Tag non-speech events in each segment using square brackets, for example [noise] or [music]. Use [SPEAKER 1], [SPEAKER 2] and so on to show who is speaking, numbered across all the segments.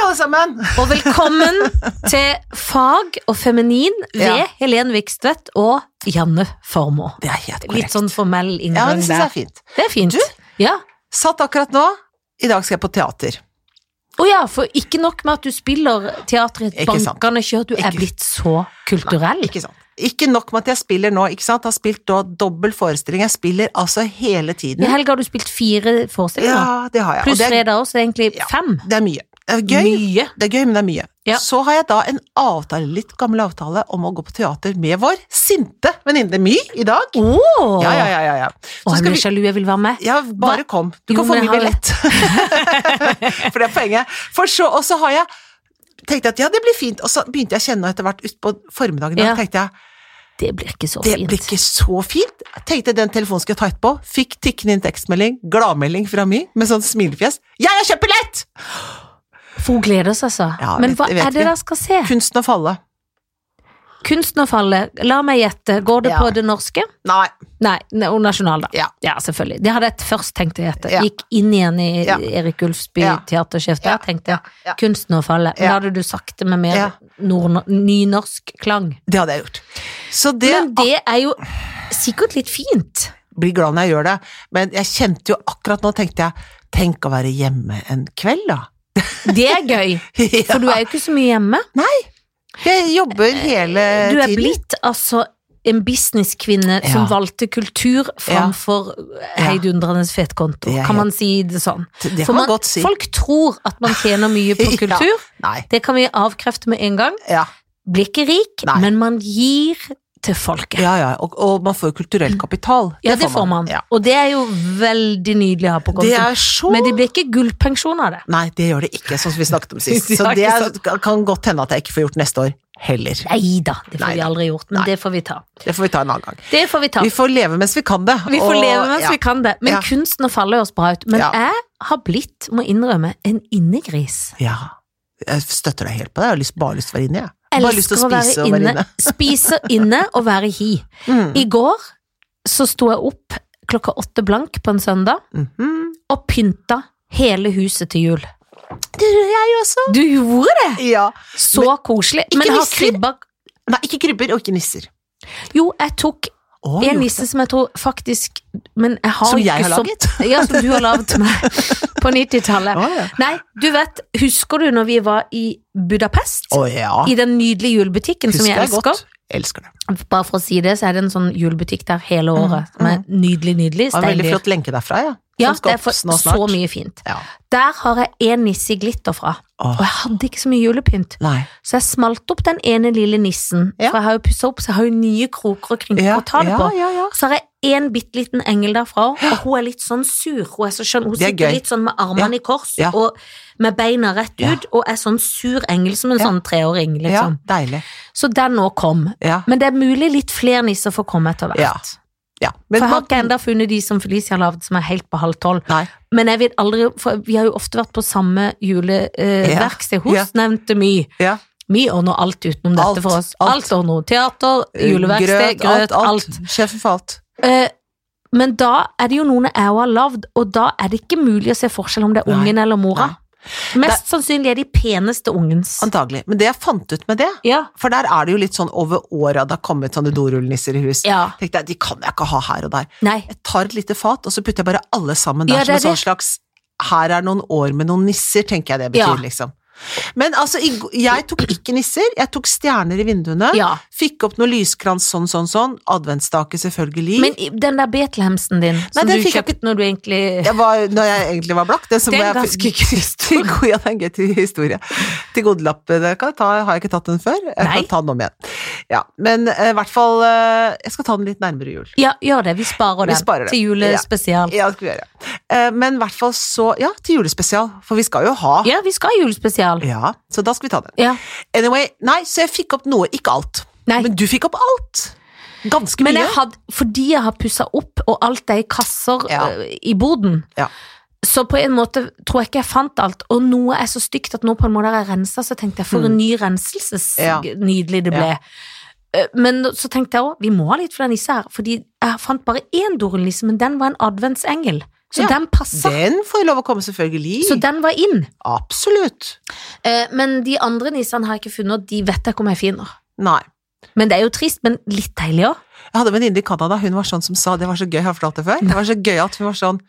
[SPEAKER 1] alle sammen!
[SPEAKER 2] Og velkommen til Fag og feminin ved
[SPEAKER 1] Ja.
[SPEAKER 2] Helen Vikstvedt og Janne Formoe.
[SPEAKER 1] Det er helt
[SPEAKER 2] Litt
[SPEAKER 1] korrekt.
[SPEAKER 2] sånn formell
[SPEAKER 1] Ja, men
[SPEAKER 2] inngang
[SPEAKER 1] det syns jeg
[SPEAKER 2] der.
[SPEAKER 1] er fint.
[SPEAKER 2] Det er fint.
[SPEAKER 1] Du?
[SPEAKER 2] Ja.
[SPEAKER 1] Satt akkurat nå. I dag skal jeg på teater.
[SPEAKER 2] Å ja, for ikke nok med at du spiller teater i et
[SPEAKER 1] Ikke sant.
[SPEAKER 2] bankende kjør, du er
[SPEAKER 1] Ikke-
[SPEAKER 2] blitt så kulturell.
[SPEAKER 1] Ikke sant. Ikke nok med at jeg spiller nå, ikke sant. Har spilt da dobbel forestilling. Jeg spiller altså hele tiden.
[SPEAKER 2] I helga har du spilt fire forestillinger,
[SPEAKER 1] Ja, det har jeg. Og
[SPEAKER 2] pluss
[SPEAKER 1] det er,
[SPEAKER 2] fredag også, så det er egentlig
[SPEAKER 1] Ja.
[SPEAKER 2] fem.
[SPEAKER 1] det er mye. Det er gøy.
[SPEAKER 2] Mye.
[SPEAKER 1] Det er gøy, men det er mye.
[SPEAKER 2] Ja.
[SPEAKER 1] Så har jeg da en avtale, litt gammel avtale, om å gå på teater med vår sinte venninne My i dag.
[SPEAKER 2] Å!
[SPEAKER 1] Ja, ja, ja, ja, ja.
[SPEAKER 2] Å,
[SPEAKER 1] Så
[SPEAKER 2] jeg
[SPEAKER 1] skal vi
[SPEAKER 2] blir sjalu, jeg vil være med.
[SPEAKER 1] ja, bare kom. Du
[SPEAKER 2] Jo,
[SPEAKER 1] kan få
[SPEAKER 2] men
[SPEAKER 1] min
[SPEAKER 2] jeg har-
[SPEAKER 1] billett. [laughs] For det er poenget. For så, og så har jeg tenkt at ja, det blir fint, og så begynte jeg å kjenne etter hvert utpå formiddagen, da
[SPEAKER 2] Ja.
[SPEAKER 1] tenkte jeg
[SPEAKER 2] Det blir ikke så
[SPEAKER 1] det
[SPEAKER 2] fint.
[SPEAKER 1] blir ikke så fint. Jeg tenkte den telefonen skulle jeg ta etterpå. Fikk tikkende inn tekstmelding, gladmelding fra My med sånn smilefjes. Jeg har kjøpt billett!
[SPEAKER 2] For hun gleder seg, altså.
[SPEAKER 1] Ja,
[SPEAKER 2] Men
[SPEAKER 1] vet-
[SPEAKER 2] hva
[SPEAKER 1] det vet
[SPEAKER 2] er det
[SPEAKER 1] vi.
[SPEAKER 2] dere skal se?
[SPEAKER 1] Kunsten å falle.
[SPEAKER 2] Kunstnerfallet, la meg gjette, går det
[SPEAKER 1] Ja.
[SPEAKER 2] på det norske?
[SPEAKER 1] Nei.
[SPEAKER 2] Nei, ne- og nasjonal, da.
[SPEAKER 1] Ja.
[SPEAKER 2] selvfølgelig. Det hadde jeg først tenkt å gjette.
[SPEAKER 1] Ja.
[SPEAKER 2] Gikk inn igjen i
[SPEAKER 1] Ja.
[SPEAKER 2] Erik Ulfsby,
[SPEAKER 1] Ja.
[SPEAKER 2] teatersjef der,
[SPEAKER 1] Ja,
[SPEAKER 2] tenkte
[SPEAKER 1] ja,
[SPEAKER 2] jeg.
[SPEAKER 1] ja.
[SPEAKER 2] Kunsten å falle. Men
[SPEAKER 1] Ja.
[SPEAKER 2] da hadde du sagt det med mer
[SPEAKER 1] Ja.
[SPEAKER 2] nordno- nynorsk klang.
[SPEAKER 1] Det hadde jeg gjort. Så det
[SPEAKER 2] Men det er jo sikkert litt fint.
[SPEAKER 1] blir glad når jeg gjør det, men jeg kjente jo akkurat nå, tenkte jeg, tenk å være hjemme en kveld, da. [laughs]
[SPEAKER 2] Det er gøy,
[SPEAKER 1] Ja.
[SPEAKER 2] for du er jo ikke så mye hjemme.
[SPEAKER 1] Jeg jobber hele
[SPEAKER 2] Du er
[SPEAKER 1] tiden.
[SPEAKER 2] blitt altså en businesskvinne som
[SPEAKER 1] Eh, Ja.
[SPEAKER 2] valgte kultur framfor heidundrende fetkonto,
[SPEAKER 1] Det er
[SPEAKER 2] kan man si det sånn.
[SPEAKER 1] Det
[SPEAKER 2] For
[SPEAKER 1] kan man
[SPEAKER 2] man,
[SPEAKER 1] godt si.
[SPEAKER 2] folk tror at man tjener mye på
[SPEAKER 1] [laughs] Ja.
[SPEAKER 2] kultur.
[SPEAKER 1] Nei.
[SPEAKER 2] Det kan vi avkrefte med en gang.
[SPEAKER 1] Ja,
[SPEAKER 2] Blir ikke rik,
[SPEAKER 1] Nei.
[SPEAKER 2] men man gir til folket. Ja,
[SPEAKER 1] ja. ja. Og, og man får jo kulturell kapital.
[SPEAKER 2] det får man.
[SPEAKER 1] Mm. Ja.
[SPEAKER 2] Og det er jo veldig nydelig å ha på
[SPEAKER 1] Det
[SPEAKER 2] konto.
[SPEAKER 1] er så
[SPEAKER 2] Men det blir ikke gullpensjon av det.
[SPEAKER 1] Nei, det gjør det ikke, sånn som vi snakket [laughs] om sist.
[SPEAKER 2] Ja,
[SPEAKER 1] Så det
[SPEAKER 2] ikke
[SPEAKER 1] er, kan godt hende at jeg ikke får gjort neste år heller.
[SPEAKER 2] Nei da, det får
[SPEAKER 1] Nei
[SPEAKER 2] vi
[SPEAKER 1] da.
[SPEAKER 2] aldri gjort, men
[SPEAKER 1] Nei.
[SPEAKER 2] det får vi ta.
[SPEAKER 1] Det får vi ta en annen gang.
[SPEAKER 2] Det får vi ta.
[SPEAKER 1] Vi får leve mens vi kan det.
[SPEAKER 2] Vi får
[SPEAKER 1] og-
[SPEAKER 2] leve mens
[SPEAKER 1] ja.
[SPEAKER 2] vi kan det. Men
[SPEAKER 1] Ja.
[SPEAKER 2] kunsten å falle høres bra ut. Men
[SPEAKER 1] Ja.
[SPEAKER 2] jeg har blitt, må innrømme, en innegris.
[SPEAKER 1] Ja. Jeg støtter deg helt på det. Jeg har lyst, bare lyst til å være inne, jeg.
[SPEAKER 2] Jeg
[SPEAKER 1] Bare lyst til å spise og være inne.
[SPEAKER 2] Spiser inne og være hi.
[SPEAKER 1] Mm.
[SPEAKER 2] I går så sto jeg opp klokka åtte blank på en søndag
[SPEAKER 1] Mhm.
[SPEAKER 2] og pynta hele huset til jul.
[SPEAKER 1] Det gjør jeg også.
[SPEAKER 2] Du gjorde det!
[SPEAKER 1] Ja.
[SPEAKER 2] Så koselig.
[SPEAKER 1] ikke
[SPEAKER 2] Men har
[SPEAKER 1] nisser.
[SPEAKER 2] krybba
[SPEAKER 1] Nei, ikke krybber og ikke nisser.
[SPEAKER 2] Jo, jeg tok
[SPEAKER 1] Å,
[SPEAKER 2] en
[SPEAKER 1] jo.
[SPEAKER 2] nisse som jeg tror faktisk Men jeg har
[SPEAKER 1] Som
[SPEAKER 2] ikke
[SPEAKER 1] jeg har sånn laget?
[SPEAKER 2] Ja, som du har laget til
[SPEAKER 1] [laughs]
[SPEAKER 2] meg på 90-tallet.
[SPEAKER 1] Å ja.
[SPEAKER 2] Nei, du vet, husker du når vi var i Budapest?
[SPEAKER 1] Å, ja.
[SPEAKER 2] I den nydelige julebutikken som jeg elsker.
[SPEAKER 1] godt. Elsker det.
[SPEAKER 2] Bare for å si det, så er det en sånn julebutikk der hele året. Som er nydelig, nydelig.
[SPEAKER 1] Det var en veldig
[SPEAKER 2] Steindyr.
[SPEAKER 1] flott lenke derfra, ja. Som
[SPEAKER 2] Ja, det
[SPEAKER 1] skal
[SPEAKER 2] er for,
[SPEAKER 1] opp nå
[SPEAKER 2] så
[SPEAKER 1] snart.
[SPEAKER 2] mye fint.
[SPEAKER 1] Ja.
[SPEAKER 2] Der har jeg én nisse i glitter fra.
[SPEAKER 1] Åh.
[SPEAKER 2] Og jeg hadde ikke så mye julepynt.
[SPEAKER 1] Nei.
[SPEAKER 2] Så jeg smalt opp den ene lille nissen.
[SPEAKER 1] Ja.
[SPEAKER 2] For jeg har jo pussa opp, så jeg har jo nye kroker og krynker
[SPEAKER 1] Ja,
[SPEAKER 2] å ta det
[SPEAKER 1] ja,
[SPEAKER 2] på.
[SPEAKER 1] ja, ja.
[SPEAKER 2] Så har jeg en bitte liten engel derfra òg, og hun er litt sånn sur. Hun er så skjønn. Hun
[SPEAKER 1] Det er
[SPEAKER 2] sitter
[SPEAKER 1] gøy.
[SPEAKER 2] litt sånn med armene i kors
[SPEAKER 1] Ja.
[SPEAKER 2] og med beina rett
[SPEAKER 1] Ja.
[SPEAKER 2] ut, og er sånn sur engel som en
[SPEAKER 1] Ja.
[SPEAKER 2] sånn treåring,
[SPEAKER 1] ja.
[SPEAKER 2] liksom.
[SPEAKER 1] Deilig.
[SPEAKER 2] Så den nå kom.
[SPEAKER 1] Ja.
[SPEAKER 2] Men det er mulig litt flere nisser får komme etter hvert.
[SPEAKER 1] Ja. ja. Men
[SPEAKER 2] For jeg har
[SPEAKER 1] man-
[SPEAKER 2] ikke ennå funnet de som Felicia har lagd, som er helt på halv tolv.
[SPEAKER 1] Nei.
[SPEAKER 2] Men jeg vet aldri, for vi har jo ofte vært på samme
[SPEAKER 1] Ja.
[SPEAKER 2] juleverksted. Hun
[SPEAKER 1] Ja.
[SPEAKER 2] nevnte mye.
[SPEAKER 1] Ja.
[SPEAKER 2] Vi ordner alt utenom dette
[SPEAKER 1] Alt,
[SPEAKER 2] for oss.
[SPEAKER 1] alt. Eh,
[SPEAKER 2] Alt ordner hun. Teater, [laughs] juleverksted, grøt, alt.
[SPEAKER 1] Sjefen for alt.
[SPEAKER 2] Eh, men da er det jo noen jeg også har lagd, og da er det ikke mulig å se forskjell om det er
[SPEAKER 1] Nei.
[SPEAKER 2] ungen eller mora.
[SPEAKER 1] Nei.
[SPEAKER 2] Mest sannsynlig er de peneste ungens.
[SPEAKER 1] Antagelig. Men det jeg fant ut med det,
[SPEAKER 2] Ja.
[SPEAKER 1] for der er det jo litt sånn over åra det har kommet sånne dorullnisser i hus.
[SPEAKER 2] ja.
[SPEAKER 1] Tenkte jeg, De kan jeg ikke ha her og der.
[SPEAKER 2] Nei.
[SPEAKER 1] Jeg tar et lite fat, og så putter jeg bare alle sammen der
[SPEAKER 2] Ja,
[SPEAKER 1] som
[SPEAKER 2] det
[SPEAKER 1] en
[SPEAKER 2] er
[SPEAKER 1] sånn slags Her er noen år med noen nisser, tenker jeg det betyr,
[SPEAKER 2] Ja.
[SPEAKER 1] liksom. Men altså, i g- jeg tok ikke nisser, jeg tok stjerner i vinduene.
[SPEAKER 2] Ja.
[SPEAKER 1] Fikk opp noen lyskrans sånn, sånn, sånn. Adventsstake, selvfølgelig.
[SPEAKER 2] Men i- den der Betlehemsen din, som
[SPEAKER 1] den
[SPEAKER 2] du
[SPEAKER 1] fikk jeg
[SPEAKER 2] kjøpte når du egentlig
[SPEAKER 1] Jeg var, når jeg egentlig var blakk, det som
[SPEAKER 2] Det er
[SPEAKER 1] jeg
[SPEAKER 2] en
[SPEAKER 1] [laughs]
[SPEAKER 2] ganske gøy
[SPEAKER 1] til
[SPEAKER 2] historie.
[SPEAKER 1] god, ja, det er en gøy til historie. Til godelapp, det kan jeg ta, har jeg ikke tatt den før. Jeg
[SPEAKER 2] Nei.
[SPEAKER 1] kan ta den om igjen. Ja, men eh, i hvert fall, eh, jeg skal ta den litt nærmere jul.
[SPEAKER 2] Ja, gjør det. Vi
[SPEAKER 1] Vi
[SPEAKER 2] sparer den
[SPEAKER 1] sparer den.
[SPEAKER 2] til julespesial. Ja.
[SPEAKER 1] Ja, det skal vi gjøre. Eh, Men i hvert fall så, ja, til julespesial, for vi skal jo ha.
[SPEAKER 2] vi skal ha julespesial.
[SPEAKER 1] Ja, så da skal vi ta den.
[SPEAKER 2] Ja.
[SPEAKER 1] Anyway, nei, så jeg fikk opp noe, ikke alt.
[SPEAKER 2] Nei.
[SPEAKER 1] Men du fikk opp alt. Ganske
[SPEAKER 2] Men
[SPEAKER 1] mye.
[SPEAKER 2] jeg hadde, fordi jeg har pussa opp, og alt er i kasser
[SPEAKER 1] Ja.
[SPEAKER 2] øh, i boden,
[SPEAKER 1] Ja.
[SPEAKER 2] så på en måte tror jeg ikke jeg fant alt. Og noe er så stygt at nå på en måte har jeg rensa, så tenkte jeg for en ny renselses
[SPEAKER 1] Mm. Ja.
[SPEAKER 2] nydelig det ble. Eh, Men så tenkte jeg òg, vi må ha litt flere nisser her, fordi jeg fant bare én dorullnisse, men den var en adventsengel. Så
[SPEAKER 1] Ja,
[SPEAKER 2] den passa.
[SPEAKER 1] Den får lov å komme, selvfølgelig.
[SPEAKER 2] Så den var inn.
[SPEAKER 1] Absolutt.
[SPEAKER 2] Eh, men de andre nissene har jeg ikke funnet, og de vet jeg ikke om jeg finner.
[SPEAKER 1] Nei.
[SPEAKER 2] Men det er jo trist, men litt deilig òg.
[SPEAKER 1] Jeg hadde en venninne i Canada, hun var sånn som sa det var så gøy, har jeg fortalt det før? Det var så gøy at hun var sånn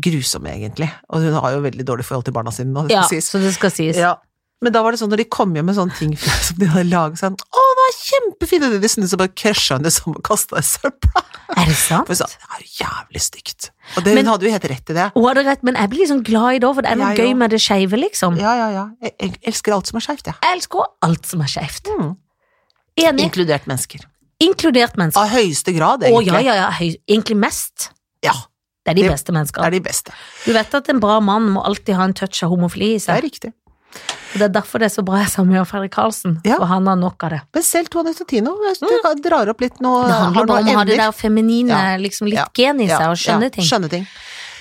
[SPEAKER 1] grusom, egentlig. Og hun har jo veldig dårlig forhold til barna sine nå, det
[SPEAKER 2] Ja,
[SPEAKER 1] skal sies.
[SPEAKER 2] så det skal sies.
[SPEAKER 1] Ja. Men da var det sånn når de kom hjem med sånne ting [laughs] som de hadde laget, sånn Å, det var kjempefint! Og de snudde seg bare krasja hun det som og kasta i søpla.
[SPEAKER 2] Er det sant?
[SPEAKER 1] For hun sa det er jo jævlig stygt. Og det,
[SPEAKER 2] Men-
[SPEAKER 1] hun hadde jo helt rett i det.
[SPEAKER 2] Hun hadde rett, men jeg blir liksom glad i det òg, for det er noe
[SPEAKER 1] Jeg
[SPEAKER 2] gøy
[SPEAKER 1] òg.
[SPEAKER 2] med det skeive, liksom.
[SPEAKER 1] Ja, ja, ja. Jeg, jeg elsker alt som er skeivt, jeg.
[SPEAKER 2] Jeg elsker også alt som er skeivt.
[SPEAKER 1] Mm.
[SPEAKER 2] Enig.
[SPEAKER 1] Inkludert mennesker.
[SPEAKER 2] Inkludert mennesker.
[SPEAKER 1] Av høyeste grad,
[SPEAKER 2] Å, ja,
[SPEAKER 1] egentlig.
[SPEAKER 2] ja, ja. Høy, egentlig mest.
[SPEAKER 1] ja.
[SPEAKER 2] Det er de
[SPEAKER 1] Det-
[SPEAKER 2] beste
[SPEAKER 1] Det
[SPEAKER 2] menneskene.
[SPEAKER 1] er de beste.
[SPEAKER 2] Du vet at en bra mann må alltid ha en touch av homofili i
[SPEAKER 1] Det er
[SPEAKER 2] seg.
[SPEAKER 1] riktig.
[SPEAKER 2] Og det er derfor det er så bra jeg er sammen med Fredrik Karlsen,
[SPEAKER 1] Ja.
[SPEAKER 2] for han har nok av det.
[SPEAKER 1] Men selv Tone Tino du kan- drar opp litt nå.
[SPEAKER 2] Mm. Det handler bare om å ha det der feminine,
[SPEAKER 1] Ja.
[SPEAKER 2] liksom litt
[SPEAKER 1] Ja.
[SPEAKER 2] gen i seg, og skjønne ting.
[SPEAKER 1] Skjønne ting.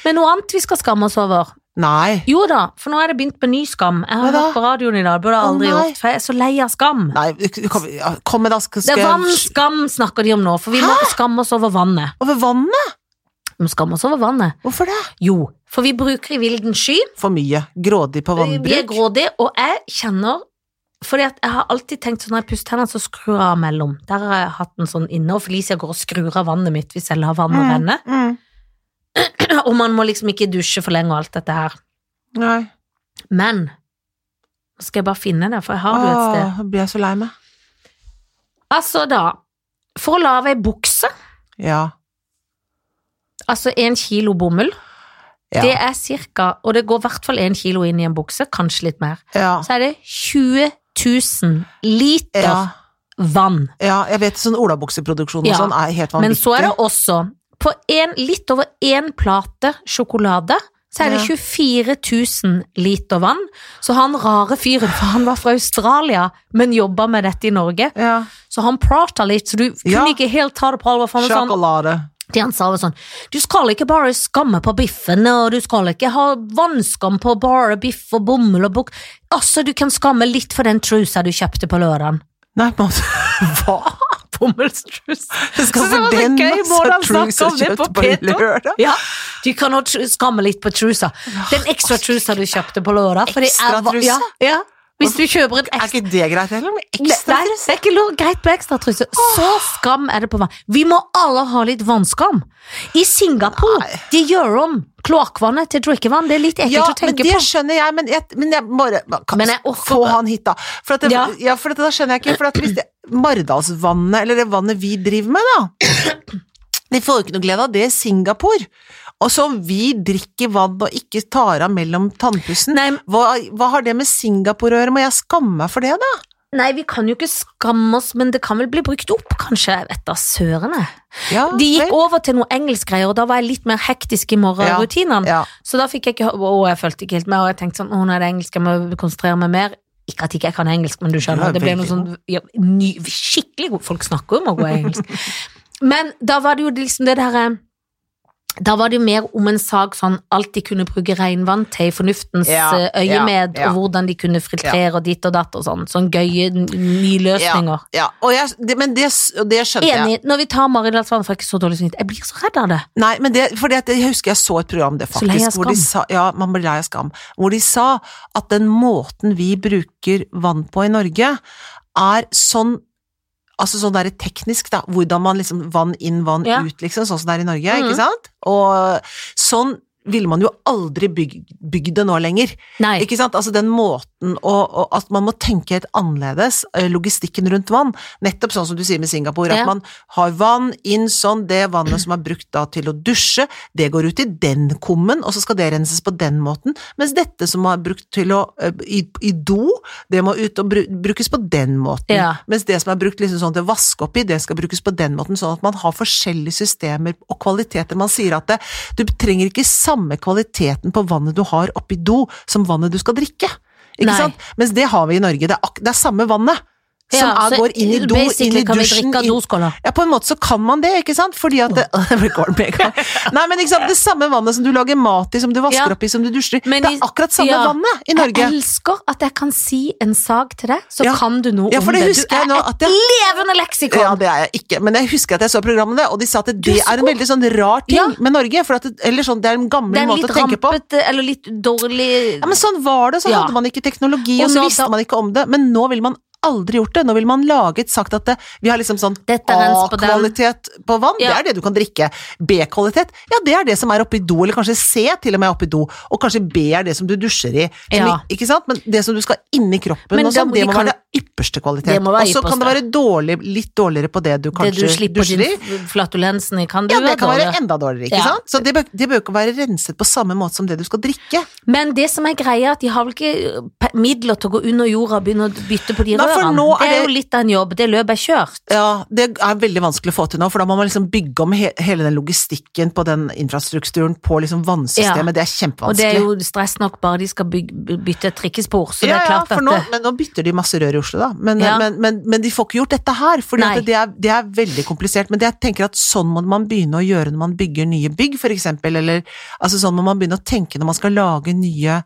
[SPEAKER 2] Men noe annet vi skal skamme oss over.
[SPEAKER 1] Nei.
[SPEAKER 2] Jo da, for nå er det begynt med ny skam. Jeg
[SPEAKER 1] Hva
[SPEAKER 2] har
[SPEAKER 1] da?
[SPEAKER 2] hørt på radioen i dag, det burde jeg
[SPEAKER 1] Å,
[SPEAKER 2] aldri
[SPEAKER 1] nei.
[SPEAKER 2] gjort, for jeg er så lei av skam.
[SPEAKER 1] Nei, du- du kom, ja, kom med da, skal,
[SPEAKER 2] Det
[SPEAKER 1] skal
[SPEAKER 2] er
[SPEAKER 1] jeg
[SPEAKER 2] vannskam snakker de om nå, for vi må skamme oss over vannet.
[SPEAKER 1] Over vannet?
[SPEAKER 2] Vi må skamme oss over vannet.
[SPEAKER 1] Hvorfor det?
[SPEAKER 2] Jo, for vi bruker i vilden sky.
[SPEAKER 1] For mye. Grådig på
[SPEAKER 2] Vi er
[SPEAKER 1] vannbruk.
[SPEAKER 2] grådige, og jeg kjenner fordi at jeg har alltid tenkt sånn når jeg pusser tennene, så skrur jeg av mellom. Der har jeg hatt en sånn inne, og Felicia går og skrur av vannet mitt hvis jeg lar vannet
[SPEAKER 1] Mm.
[SPEAKER 2] renne. [clears throat]
[SPEAKER 1] Mm.
[SPEAKER 2] Og man må liksom ikke dusje for lenge og alt dette her.
[SPEAKER 1] Nei.
[SPEAKER 2] Men nå skal jeg bare finne det, for jeg har det jo et sted.
[SPEAKER 1] Åh, nå blir jeg så lei meg. Ah.
[SPEAKER 2] Altså da, for å lage ei bukse,
[SPEAKER 1] Ja.
[SPEAKER 2] altså en kilo bomull,
[SPEAKER 1] Ja.
[SPEAKER 2] det er cirka, og det går i hvert fall en kilo inn i en bukse, kanskje litt mer,
[SPEAKER 1] Ja.
[SPEAKER 2] så er det 20 000 liter
[SPEAKER 1] ja.
[SPEAKER 2] vann.
[SPEAKER 1] ja. Jeg vet sånn olabukseproduksjon og
[SPEAKER 2] Ja.
[SPEAKER 1] sånn er helt vanvittig.
[SPEAKER 2] Men så er det også, på en, litt over én plate sjokolade, så er det
[SPEAKER 1] Ja.
[SPEAKER 2] 24 000 liter vann. Så han rare fyren, for han var fra Australia, men jobba med dette i Norge,
[SPEAKER 1] Ja.
[SPEAKER 2] så han prata litt, så du
[SPEAKER 1] Ja.
[SPEAKER 2] kunne ikke helt ta det på alvor. for han var sånn,
[SPEAKER 1] Sjokolade.
[SPEAKER 2] Det han sa var sånn Du skal ikke bare skamme på biffen, og du skal ikke ha vannskam på bare biff og bomull og bukk. Altså, du kan skamme litt for den trusa du kjøpte på lørdagen.
[SPEAKER 1] Nei, [laughs] men altså, hva?
[SPEAKER 2] [laughs] Bomullstrus.
[SPEAKER 1] Det
[SPEAKER 2] Så det var så gøy måten han snakket om det på P2. Ja, du kan også tru- skamme litt på trusa. Den ekstra trusa du kjøpte på lørdag. for det er
[SPEAKER 1] Ekstra
[SPEAKER 2] va-
[SPEAKER 1] trusa?
[SPEAKER 2] Ja, ja. Hvis du kjøper et
[SPEAKER 1] Er
[SPEAKER 2] ekstra
[SPEAKER 1] ikke det greit heller? Med
[SPEAKER 2] Nei,
[SPEAKER 1] ekstra
[SPEAKER 2] nei, det er ikke lov, greit med ekstra truse. Så skam er det på vann. Vi må alle ha litt vannskam. I Singapore,
[SPEAKER 1] Nei.
[SPEAKER 2] de gjør om kloakkvannet til drikkevann. Det er litt ekkelt
[SPEAKER 1] Ja,
[SPEAKER 2] å
[SPEAKER 1] men
[SPEAKER 2] tenke
[SPEAKER 1] det
[SPEAKER 2] på.
[SPEAKER 1] skjønner jeg, men jeg, men jeg bare man kan,
[SPEAKER 2] Men jeg orker-
[SPEAKER 1] Få han hit, da. For, at det, ja.
[SPEAKER 2] Ja.
[SPEAKER 1] for at da skjønner jeg ikke For at hvis det Mardalsvannet, eller det vannet vi driver med, da [clears throat] De får jo ikke noe glede av det i Singapore. Og så om vi drikker vann og ikke tar av mellom tannpussen,
[SPEAKER 2] Nei,
[SPEAKER 1] hva, hva har det med Singapore å gjøre? Må jeg skamme meg for det, da?
[SPEAKER 2] nei, vi kan jo ikke skamme oss, men det kan vel bli brukt opp, kanskje. Jeg vet da søren, jeg.
[SPEAKER 1] Ja,
[SPEAKER 2] De gikk
[SPEAKER 1] vel.
[SPEAKER 2] over til noe engelskgreier, og da var jeg litt mer hektisk i morgenrutinene.
[SPEAKER 1] Ja.
[SPEAKER 2] Så da fikk jeg ikke hø- Å, jeg følte ikke helt med, og jeg tenkte sånn Å, nå er det engelsk, jeg må konsentrere meg mer. Ikke at ikke jeg kan engelsk, men du skjønner.
[SPEAKER 1] Du er
[SPEAKER 2] Det ble noe
[SPEAKER 1] veldig
[SPEAKER 2] sånn ja, ny, Skikkelig god Folk snakker jo om å gå i engelsk. [laughs] Men da var det jo liksom det derre da var det jo mer om en sak sånn alt de kunne bruke regnvann til i fornuftens
[SPEAKER 1] Ja,
[SPEAKER 2] eh,
[SPEAKER 1] ja,
[SPEAKER 2] øyemed,
[SPEAKER 1] ja.
[SPEAKER 2] og hvordan de kunne filtrere og ditt og datt og sånn. Sånn gøye n- nyløsninger.
[SPEAKER 1] ja. Og jeg, det, men det, og det skjønte jeg.
[SPEAKER 2] Enig. Når vi tar Maridalsvann, får jeg ikke så dårlig samvittighet. Jeg blir så redd av det.
[SPEAKER 1] Nei, men det, fordi at jeg husker jeg så et program det
[SPEAKER 2] Så lei av
[SPEAKER 1] faktisk, hvor de, sa, ja, man blir lei av skam, hvor de sa at den måten vi bruker vann på i Norge, er sånn Altså sånn der teknisk, da, hvordan man liksom vann inn, vann
[SPEAKER 2] Ja.
[SPEAKER 1] ut, liksom, sånn som det er i Norge,
[SPEAKER 2] Mhm.
[SPEAKER 1] ikke sant? Og sånn ville man jo aldri byg- bygd det nå lenger.
[SPEAKER 2] Nei.
[SPEAKER 1] Ikke sant? Altså den måten å, å, at man må tenke helt annerledes, eh, logistikken rundt vann. Nettopp sånn som du sier med Singapore,
[SPEAKER 2] Ja.
[SPEAKER 1] at man har vann inn sånn, det vannet som er brukt da til å dusje, det går ut i den kummen, og så skal det renses på den måten, mens dette som er brukt til å, eh, i, i do, det må ut og bru, brukes på den måten.
[SPEAKER 2] Ja.
[SPEAKER 1] Mens det som er brukt liksom sånn til å vaske opp i, det skal brukes på den måten, sånn at man har forskjellige systemer og kvaliteter. Man sier at det, du trenger ikke samme kvaliteten på vannet du har oppi do, som vannet du skal drikke. Ikke
[SPEAKER 2] Nei.
[SPEAKER 1] sant? Mens det har vi i Norge. Det er, ak det er samme vannet. som
[SPEAKER 2] Ja,
[SPEAKER 1] er,
[SPEAKER 2] så
[SPEAKER 1] går inn i do,
[SPEAKER 2] basically
[SPEAKER 1] inn i
[SPEAKER 2] kan vi
[SPEAKER 1] dusjen
[SPEAKER 2] drikke av
[SPEAKER 1] inn-
[SPEAKER 2] doskåla.
[SPEAKER 1] Ja, på en måte så kan man det, ikke sant? Fordi at det, [laughs] det går mega. Nei, men ikke sant? Det samme vannet som du lager mat i, som du vasker
[SPEAKER 2] Ja.
[SPEAKER 1] opp i, som du dusjer i.
[SPEAKER 2] Men
[SPEAKER 1] Det
[SPEAKER 2] i-
[SPEAKER 1] er akkurat samme
[SPEAKER 2] ja.
[SPEAKER 1] vannet i
[SPEAKER 2] Jeg
[SPEAKER 1] Norge.
[SPEAKER 2] elsker at jeg kan si en sak til deg, så
[SPEAKER 1] Ja.
[SPEAKER 2] kan du noe
[SPEAKER 1] Ja, for
[SPEAKER 2] om
[SPEAKER 1] det
[SPEAKER 2] det.
[SPEAKER 1] husker jeg nå at jeg-
[SPEAKER 2] levende leksikon!
[SPEAKER 1] Ja, det er jeg ikke, men jeg husker at jeg så programmet, og de sa at
[SPEAKER 2] er
[SPEAKER 1] det er
[SPEAKER 2] så
[SPEAKER 1] en
[SPEAKER 2] god.
[SPEAKER 1] veldig sånn rar ting
[SPEAKER 2] Ja.
[SPEAKER 1] med Norge, for at det, eller sånn, det er en gammel
[SPEAKER 2] Den
[SPEAKER 1] måte
[SPEAKER 2] litt
[SPEAKER 1] å tenke på.
[SPEAKER 2] rampete, eller litt dårlig
[SPEAKER 1] Ja, men sånn var det, så
[SPEAKER 2] Ja.
[SPEAKER 1] hadde man ikke teknologi,
[SPEAKER 2] Og
[SPEAKER 1] og, så
[SPEAKER 2] nå
[SPEAKER 1] visste
[SPEAKER 2] da-
[SPEAKER 1] man ikke om det, men nå ville man aldri gjort det. Nå ville man laget, sagt at det, vi har liksom sånn
[SPEAKER 2] Dette er rens på den.
[SPEAKER 1] A-kvalitet på vann, det
[SPEAKER 2] Ja.
[SPEAKER 1] er det du kan drikke. B-kvalitet, ja det er det som er oppi do, eller kanskje C til og med er oppi do, og kanskje B er det som du dusjer i. Som
[SPEAKER 2] Ja.
[SPEAKER 1] i- Ikke sant? Men det som du skal inn i kroppen
[SPEAKER 2] Men
[SPEAKER 1] og
[SPEAKER 2] da
[SPEAKER 1] sånn,
[SPEAKER 2] må
[SPEAKER 1] det
[SPEAKER 2] de
[SPEAKER 1] må
[SPEAKER 2] kan-
[SPEAKER 1] være ypperste kvalitet.
[SPEAKER 2] Det må være
[SPEAKER 1] Og så kan det være
[SPEAKER 2] ypperste.
[SPEAKER 1] dårlig, litt dårligere på det du
[SPEAKER 2] Det du
[SPEAKER 1] kanskje
[SPEAKER 2] slipper
[SPEAKER 1] dusjer i.
[SPEAKER 2] din f- flatulensen i, kan du
[SPEAKER 1] Ja, det
[SPEAKER 2] være
[SPEAKER 1] kan være
[SPEAKER 2] dårlig.
[SPEAKER 1] enda dårligere, ikke
[SPEAKER 2] Ja.
[SPEAKER 1] sant? Så det bør, det bør ikke være renset på samme måte som det du skal drikke.
[SPEAKER 2] Men det som er greia, er at de har vel ikke eh, pe- midler til å gå under jorda og begynne å bytte på de
[SPEAKER 1] Nei, for
[SPEAKER 2] rørene.
[SPEAKER 1] nå er
[SPEAKER 2] Det
[SPEAKER 1] det-
[SPEAKER 2] er jo litt av en jobb. Det løpet er kjørt.
[SPEAKER 1] Ja, det er veldig vanskelig å få til nå, for da må man liksom bygge om he hele den logistikken på den infrastrukturen på liksom vannsystemet, det er
[SPEAKER 2] Og det er
[SPEAKER 1] kjempevanskelig.
[SPEAKER 2] jo stress nok bare de skal byg- bytte et trikkespor, så det
[SPEAKER 1] ja,
[SPEAKER 2] er
[SPEAKER 1] ja,
[SPEAKER 2] klart
[SPEAKER 1] for
[SPEAKER 2] at eh,
[SPEAKER 1] nå,
[SPEAKER 2] det,
[SPEAKER 1] men nå bytter de masse rør i Oslo, da. Men,
[SPEAKER 2] Ja.
[SPEAKER 1] men, men, men de får ikke gjort dette her, for
[SPEAKER 2] Nei.
[SPEAKER 1] det, er- det er veldig komplisert. Men det jeg tenker at sånn må man begynne å gjøre når man bygger nye bygg, for eksempel, eller altså sånn må man begynne å tenke når man skal lage nye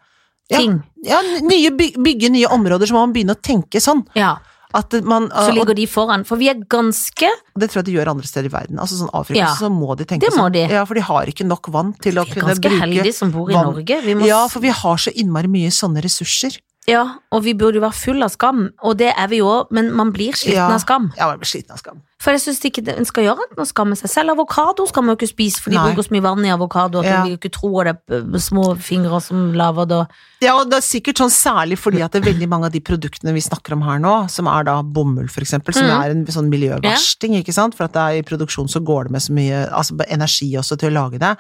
[SPEAKER 1] ja,
[SPEAKER 2] Ting.
[SPEAKER 1] Ja, nye byg, bygge nye områder, så må man begynne å tenke sånn.
[SPEAKER 2] Ja,
[SPEAKER 1] At man,
[SPEAKER 2] så
[SPEAKER 1] og
[SPEAKER 2] ligger de foran. For vi er ganske
[SPEAKER 1] Og det tror jeg de gjør andre steder i verden. Altså sånn Afrika,
[SPEAKER 2] Ja,
[SPEAKER 1] så må de tenke
[SPEAKER 2] det må
[SPEAKER 1] sånn.
[SPEAKER 2] de.
[SPEAKER 1] Ja, for de har ikke nok vann til å
[SPEAKER 2] Vi er
[SPEAKER 1] kunne
[SPEAKER 2] ganske
[SPEAKER 1] bruke
[SPEAKER 2] heldige som bor i
[SPEAKER 1] vann.
[SPEAKER 2] Norge. Vi må,
[SPEAKER 1] Ja, for vi har så innmari mye sånne ressurser.
[SPEAKER 2] ja, og vi burde jo være full av skam, og det er vi jo òg, men man blir sliten
[SPEAKER 1] Ja.
[SPEAKER 2] av skam.
[SPEAKER 1] Ja, man blir sliten av skam.
[SPEAKER 2] For jeg syns ikke det- en skal gjøre annet enn å skamme seg selv. Avokado skal man jo ikke spise, for de
[SPEAKER 1] Nei.
[SPEAKER 2] bruker så mye vann i avokado at
[SPEAKER 1] Ja.
[SPEAKER 2] man vil jo ikke tro at det er p- små fingre som laver det.
[SPEAKER 1] Ja, og det er sikkert sånn særlig fordi at det er veldig mange av de produktene vi snakker om her nå, som er da bomull for eksempel, som
[SPEAKER 2] Mhm.
[SPEAKER 1] er en sånn miljøversting, ikke sant? For at det er i produksjon så går det med så mye altså energi også til å lage det.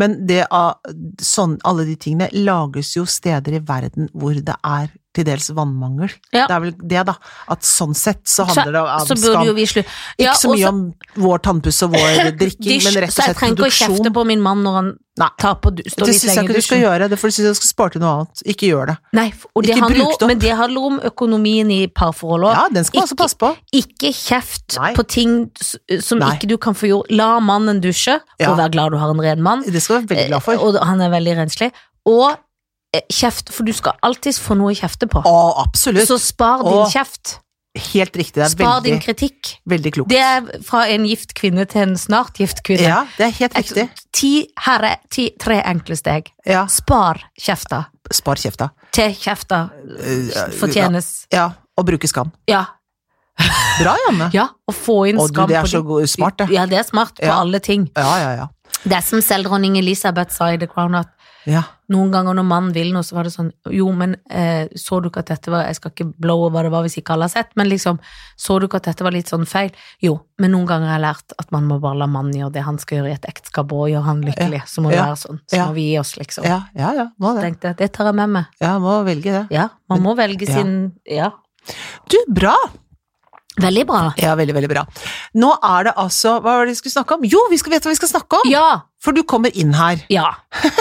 [SPEAKER 1] Men det av sånn, alle de tingene lages jo steder i verden hvor det er til dels vannmangel.
[SPEAKER 2] Ja.
[SPEAKER 1] Det er vel det, da. At sånn sett så handler det om
[SPEAKER 2] Så burde
[SPEAKER 1] skam.
[SPEAKER 2] jo vi slutte.
[SPEAKER 1] Ikke
[SPEAKER 2] Ja,
[SPEAKER 1] så
[SPEAKER 2] og
[SPEAKER 1] mye om vår tannpuss og vår
[SPEAKER 2] [coughs]
[SPEAKER 1] drikking,
[SPEAKER 2] dysj,
[SPEAKER 1] men rett og
[SPEAKER 2] så jeg
[SPEAKER 1] slett
[SPEAKER 2] trenger ikke å kjefte
[SPEAKER 1] produksjon.
[SPEAKER 2] på min mann når han
[SPEAKER 1] Nei.
[SPEAKER 2] tar på du- står
[SPEAKER 1] Det
[SPEAKER 2] litt
[SPEAKER 1] syns jeg
[SPEAKER 2] lenge i
[SPEAKER 1] ikke du skal
[SPEAKER 2] dusjen.
[SPEAKER 1] gjøre, det for det syns jeg du skal spare til noe annet. Ikke gjør det.
[SPEAKER 2] Nei, f- og det
[SPEAKER 1] Ikke
[SPEAKER 2] handler,
[SPEAKER 1] bruk det
[SPEAKER 2] om-
[SPEAKER 1] opp.
[SPEAKER 2] men det handler om økonomien i parforholdet òg.
[SPEAKER 1] Ja, den skal man også
[SPEAKER 2] Ikke-
[SPEAKER 1] passe på.
[SPEAKER 2] Ikke kjeft
[SPEAKER 1] Nei.
[SPEAKER 2] på ting s- som
[SPEAKER 1] Nei.
[SPEAKER 2] ikke du kan få gjort. La mannen dusje,
[SPEAKER 1] Ja.
[SPEAKER 2] og vær glad du har en ren mann.
[SPEAKER 1] Det skal du være veldig glad
[SPEAKER 2] Eh,
[SPEAKER 1] for.
[SPEAKER 2] Og han er veldig renslig. Og eh, kjeft, for du skal alltid få noe å kjefte på.
[SPEAKER 1] Å, absolutt.
[SPEAKER 2] Så spar din
[SPEAKER 1] Og-
[SPEAKER 2] kjeft.
[SPEAKER 1] Helt riktig. Det er
[SPEAKER 2] Spar din
[SPEAKER 1] veldig,
[SPEAKER 2] kritikk.
[SPEAKER 1] veldig klokt.
[SPEAKER 2] Det er fra en gift kvinne til en snart gift kvinne.
[SPEAKER 1] Ja, det er helt
[SPEAKER 2] Et-
[SPEAKER 1] riktig.
[SPEAKER 2] ti, her er ti, tre enkle steg.
[SPEAKER 1] Ja.
[SPEAKER 2] Spar kjefta
[SPEAKER 1] Spar kjefta.
[SPEAKER 2] til kjefta
[SPEAKER 1] Eh,
[SPEAKER 2] fortjenes.
[SPEAKER 1] Ja, og bruke skam.
[SPEAKER 2] Ja.
[SPEAKER 1] Bra, Janne.
[SPEAKER 2] ja. Og få inn
[SPEAKER 1] Å, du,
[SPEAKER 2] skam
[SPEAKER 1] det er
[SPEAKER 2] på
[SPEAKER 1] så
[SPEAKER 2] de-
[SPEAKER 1] god- smart, det.
[SPEAKER 2] Ja, det er smart på
[SPEAKER 1] Ja.
[SPEAKER 2] alle ting.
[SPEAKER 1] Ja, ja, ja.
[SPEAKER 2] Det er som selv dronning Elisabeth sa i The Crown at
[SPEAKER 1] ja.
[SPEAKER 2] noen ganger når mannen vil noe, så var det sånn Jo, men eh, så du ikke at dette var Jeg skal ikke blowe hva det var hvis ikke alle har sett, men liksom Så du ikke at dette var litt sånn feil? Jo, men noen ganger har jeg lært at man må bare la mannen gjøre det han skal gjøre i et ekteskap, og gjøre han lykkelig. Så må det
[SPEAKER 1] Ja.
[SPEAKER 2] være sånn. Så
[SPEAKER 1] Ja.
[SPEAKER 2] må vi gi oss, liksom.
[SPEAKER 1] Ja, ja, ja. Må det.
[SPEAKER 2] Tenkte jeg, det tar jeg med meg.
[SPEAKER 1] Ja, må velge det.
[SPEAKER 2] Ja, man må velge
[SPEAKER 1] Ja.
[SPEAKER 2] sin Ja.
[SPEAKER 1] Du, bra!
[SPEAKER 2] Veldig bra.
[SPEAKER 1] Ja, veldig, veldig bra. Nå er det altså Hva var det vi skulle snakke om? Jo, vi skal vite hva vi skal snakke om!
[SPEAKER 2] Ja!
[SPEAKER 1] For du kommer inn her.
[SPEAKER 2] Ja.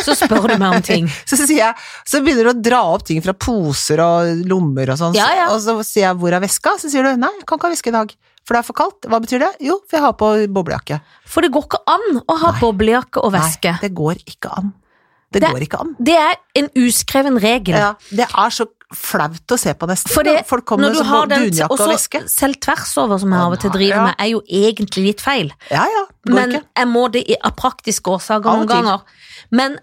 [SPEAKER 2] Så spør du meg om ting.
[SPEAKER 1] [laughs] Så, sier jeg, så begynner du å dra opp ting fra poser og lommer og sånn.
[SPEAKER 2] Ja, ja.
[SPEAKER 1] Og så sier jeg 'hvor er veska?' Så sier du 'nei, jeg kan ikke ha veske i dag', for det er for kaldt. Hva betyr det? Jo, for jeg har på boblejakke.
[SPEAKER 2] For det går ikke an å ha
[SPEAKER 1] Nei.
[SPEAKER 2] boblejakke og veske.
[SPEAKER 1] Nei, det går ikke an. Det,
[SPEAKER 2] Det-
[SPEAKER 1] går ikke an.
[SPEAKER 2] Det er en uskreven regel.
[SPEAKER 1] Ja, det er så flaut å se på nesten.
[SPEAKER 2] For det-
[SPEAKER 1] Folk kommer med sånn dunjakke og veske.
[SPEAKER 2] Også selv tvers over, som jeg
[SPEAKER 1] Ja,
[SPEAKER 2] av og til
[SPEAKER 1] nei,
[SPEAKER 2] driver
[SPEAKER 1] ja.
[SPEAKER 2] med, er jo egentlig litt feil.
[SPEAKER 1] Ja, ja, det går
[SPEAKER 2] Men
[SPEAKER 1] ikke.
[SPEAKER 2] jeg må det i- av praktiske årsaker
[SPEAKER 1] Av og
[SPEAKER 2] noen
[SPEAKER 1] til.
[SPEAKER 2] ganger. Men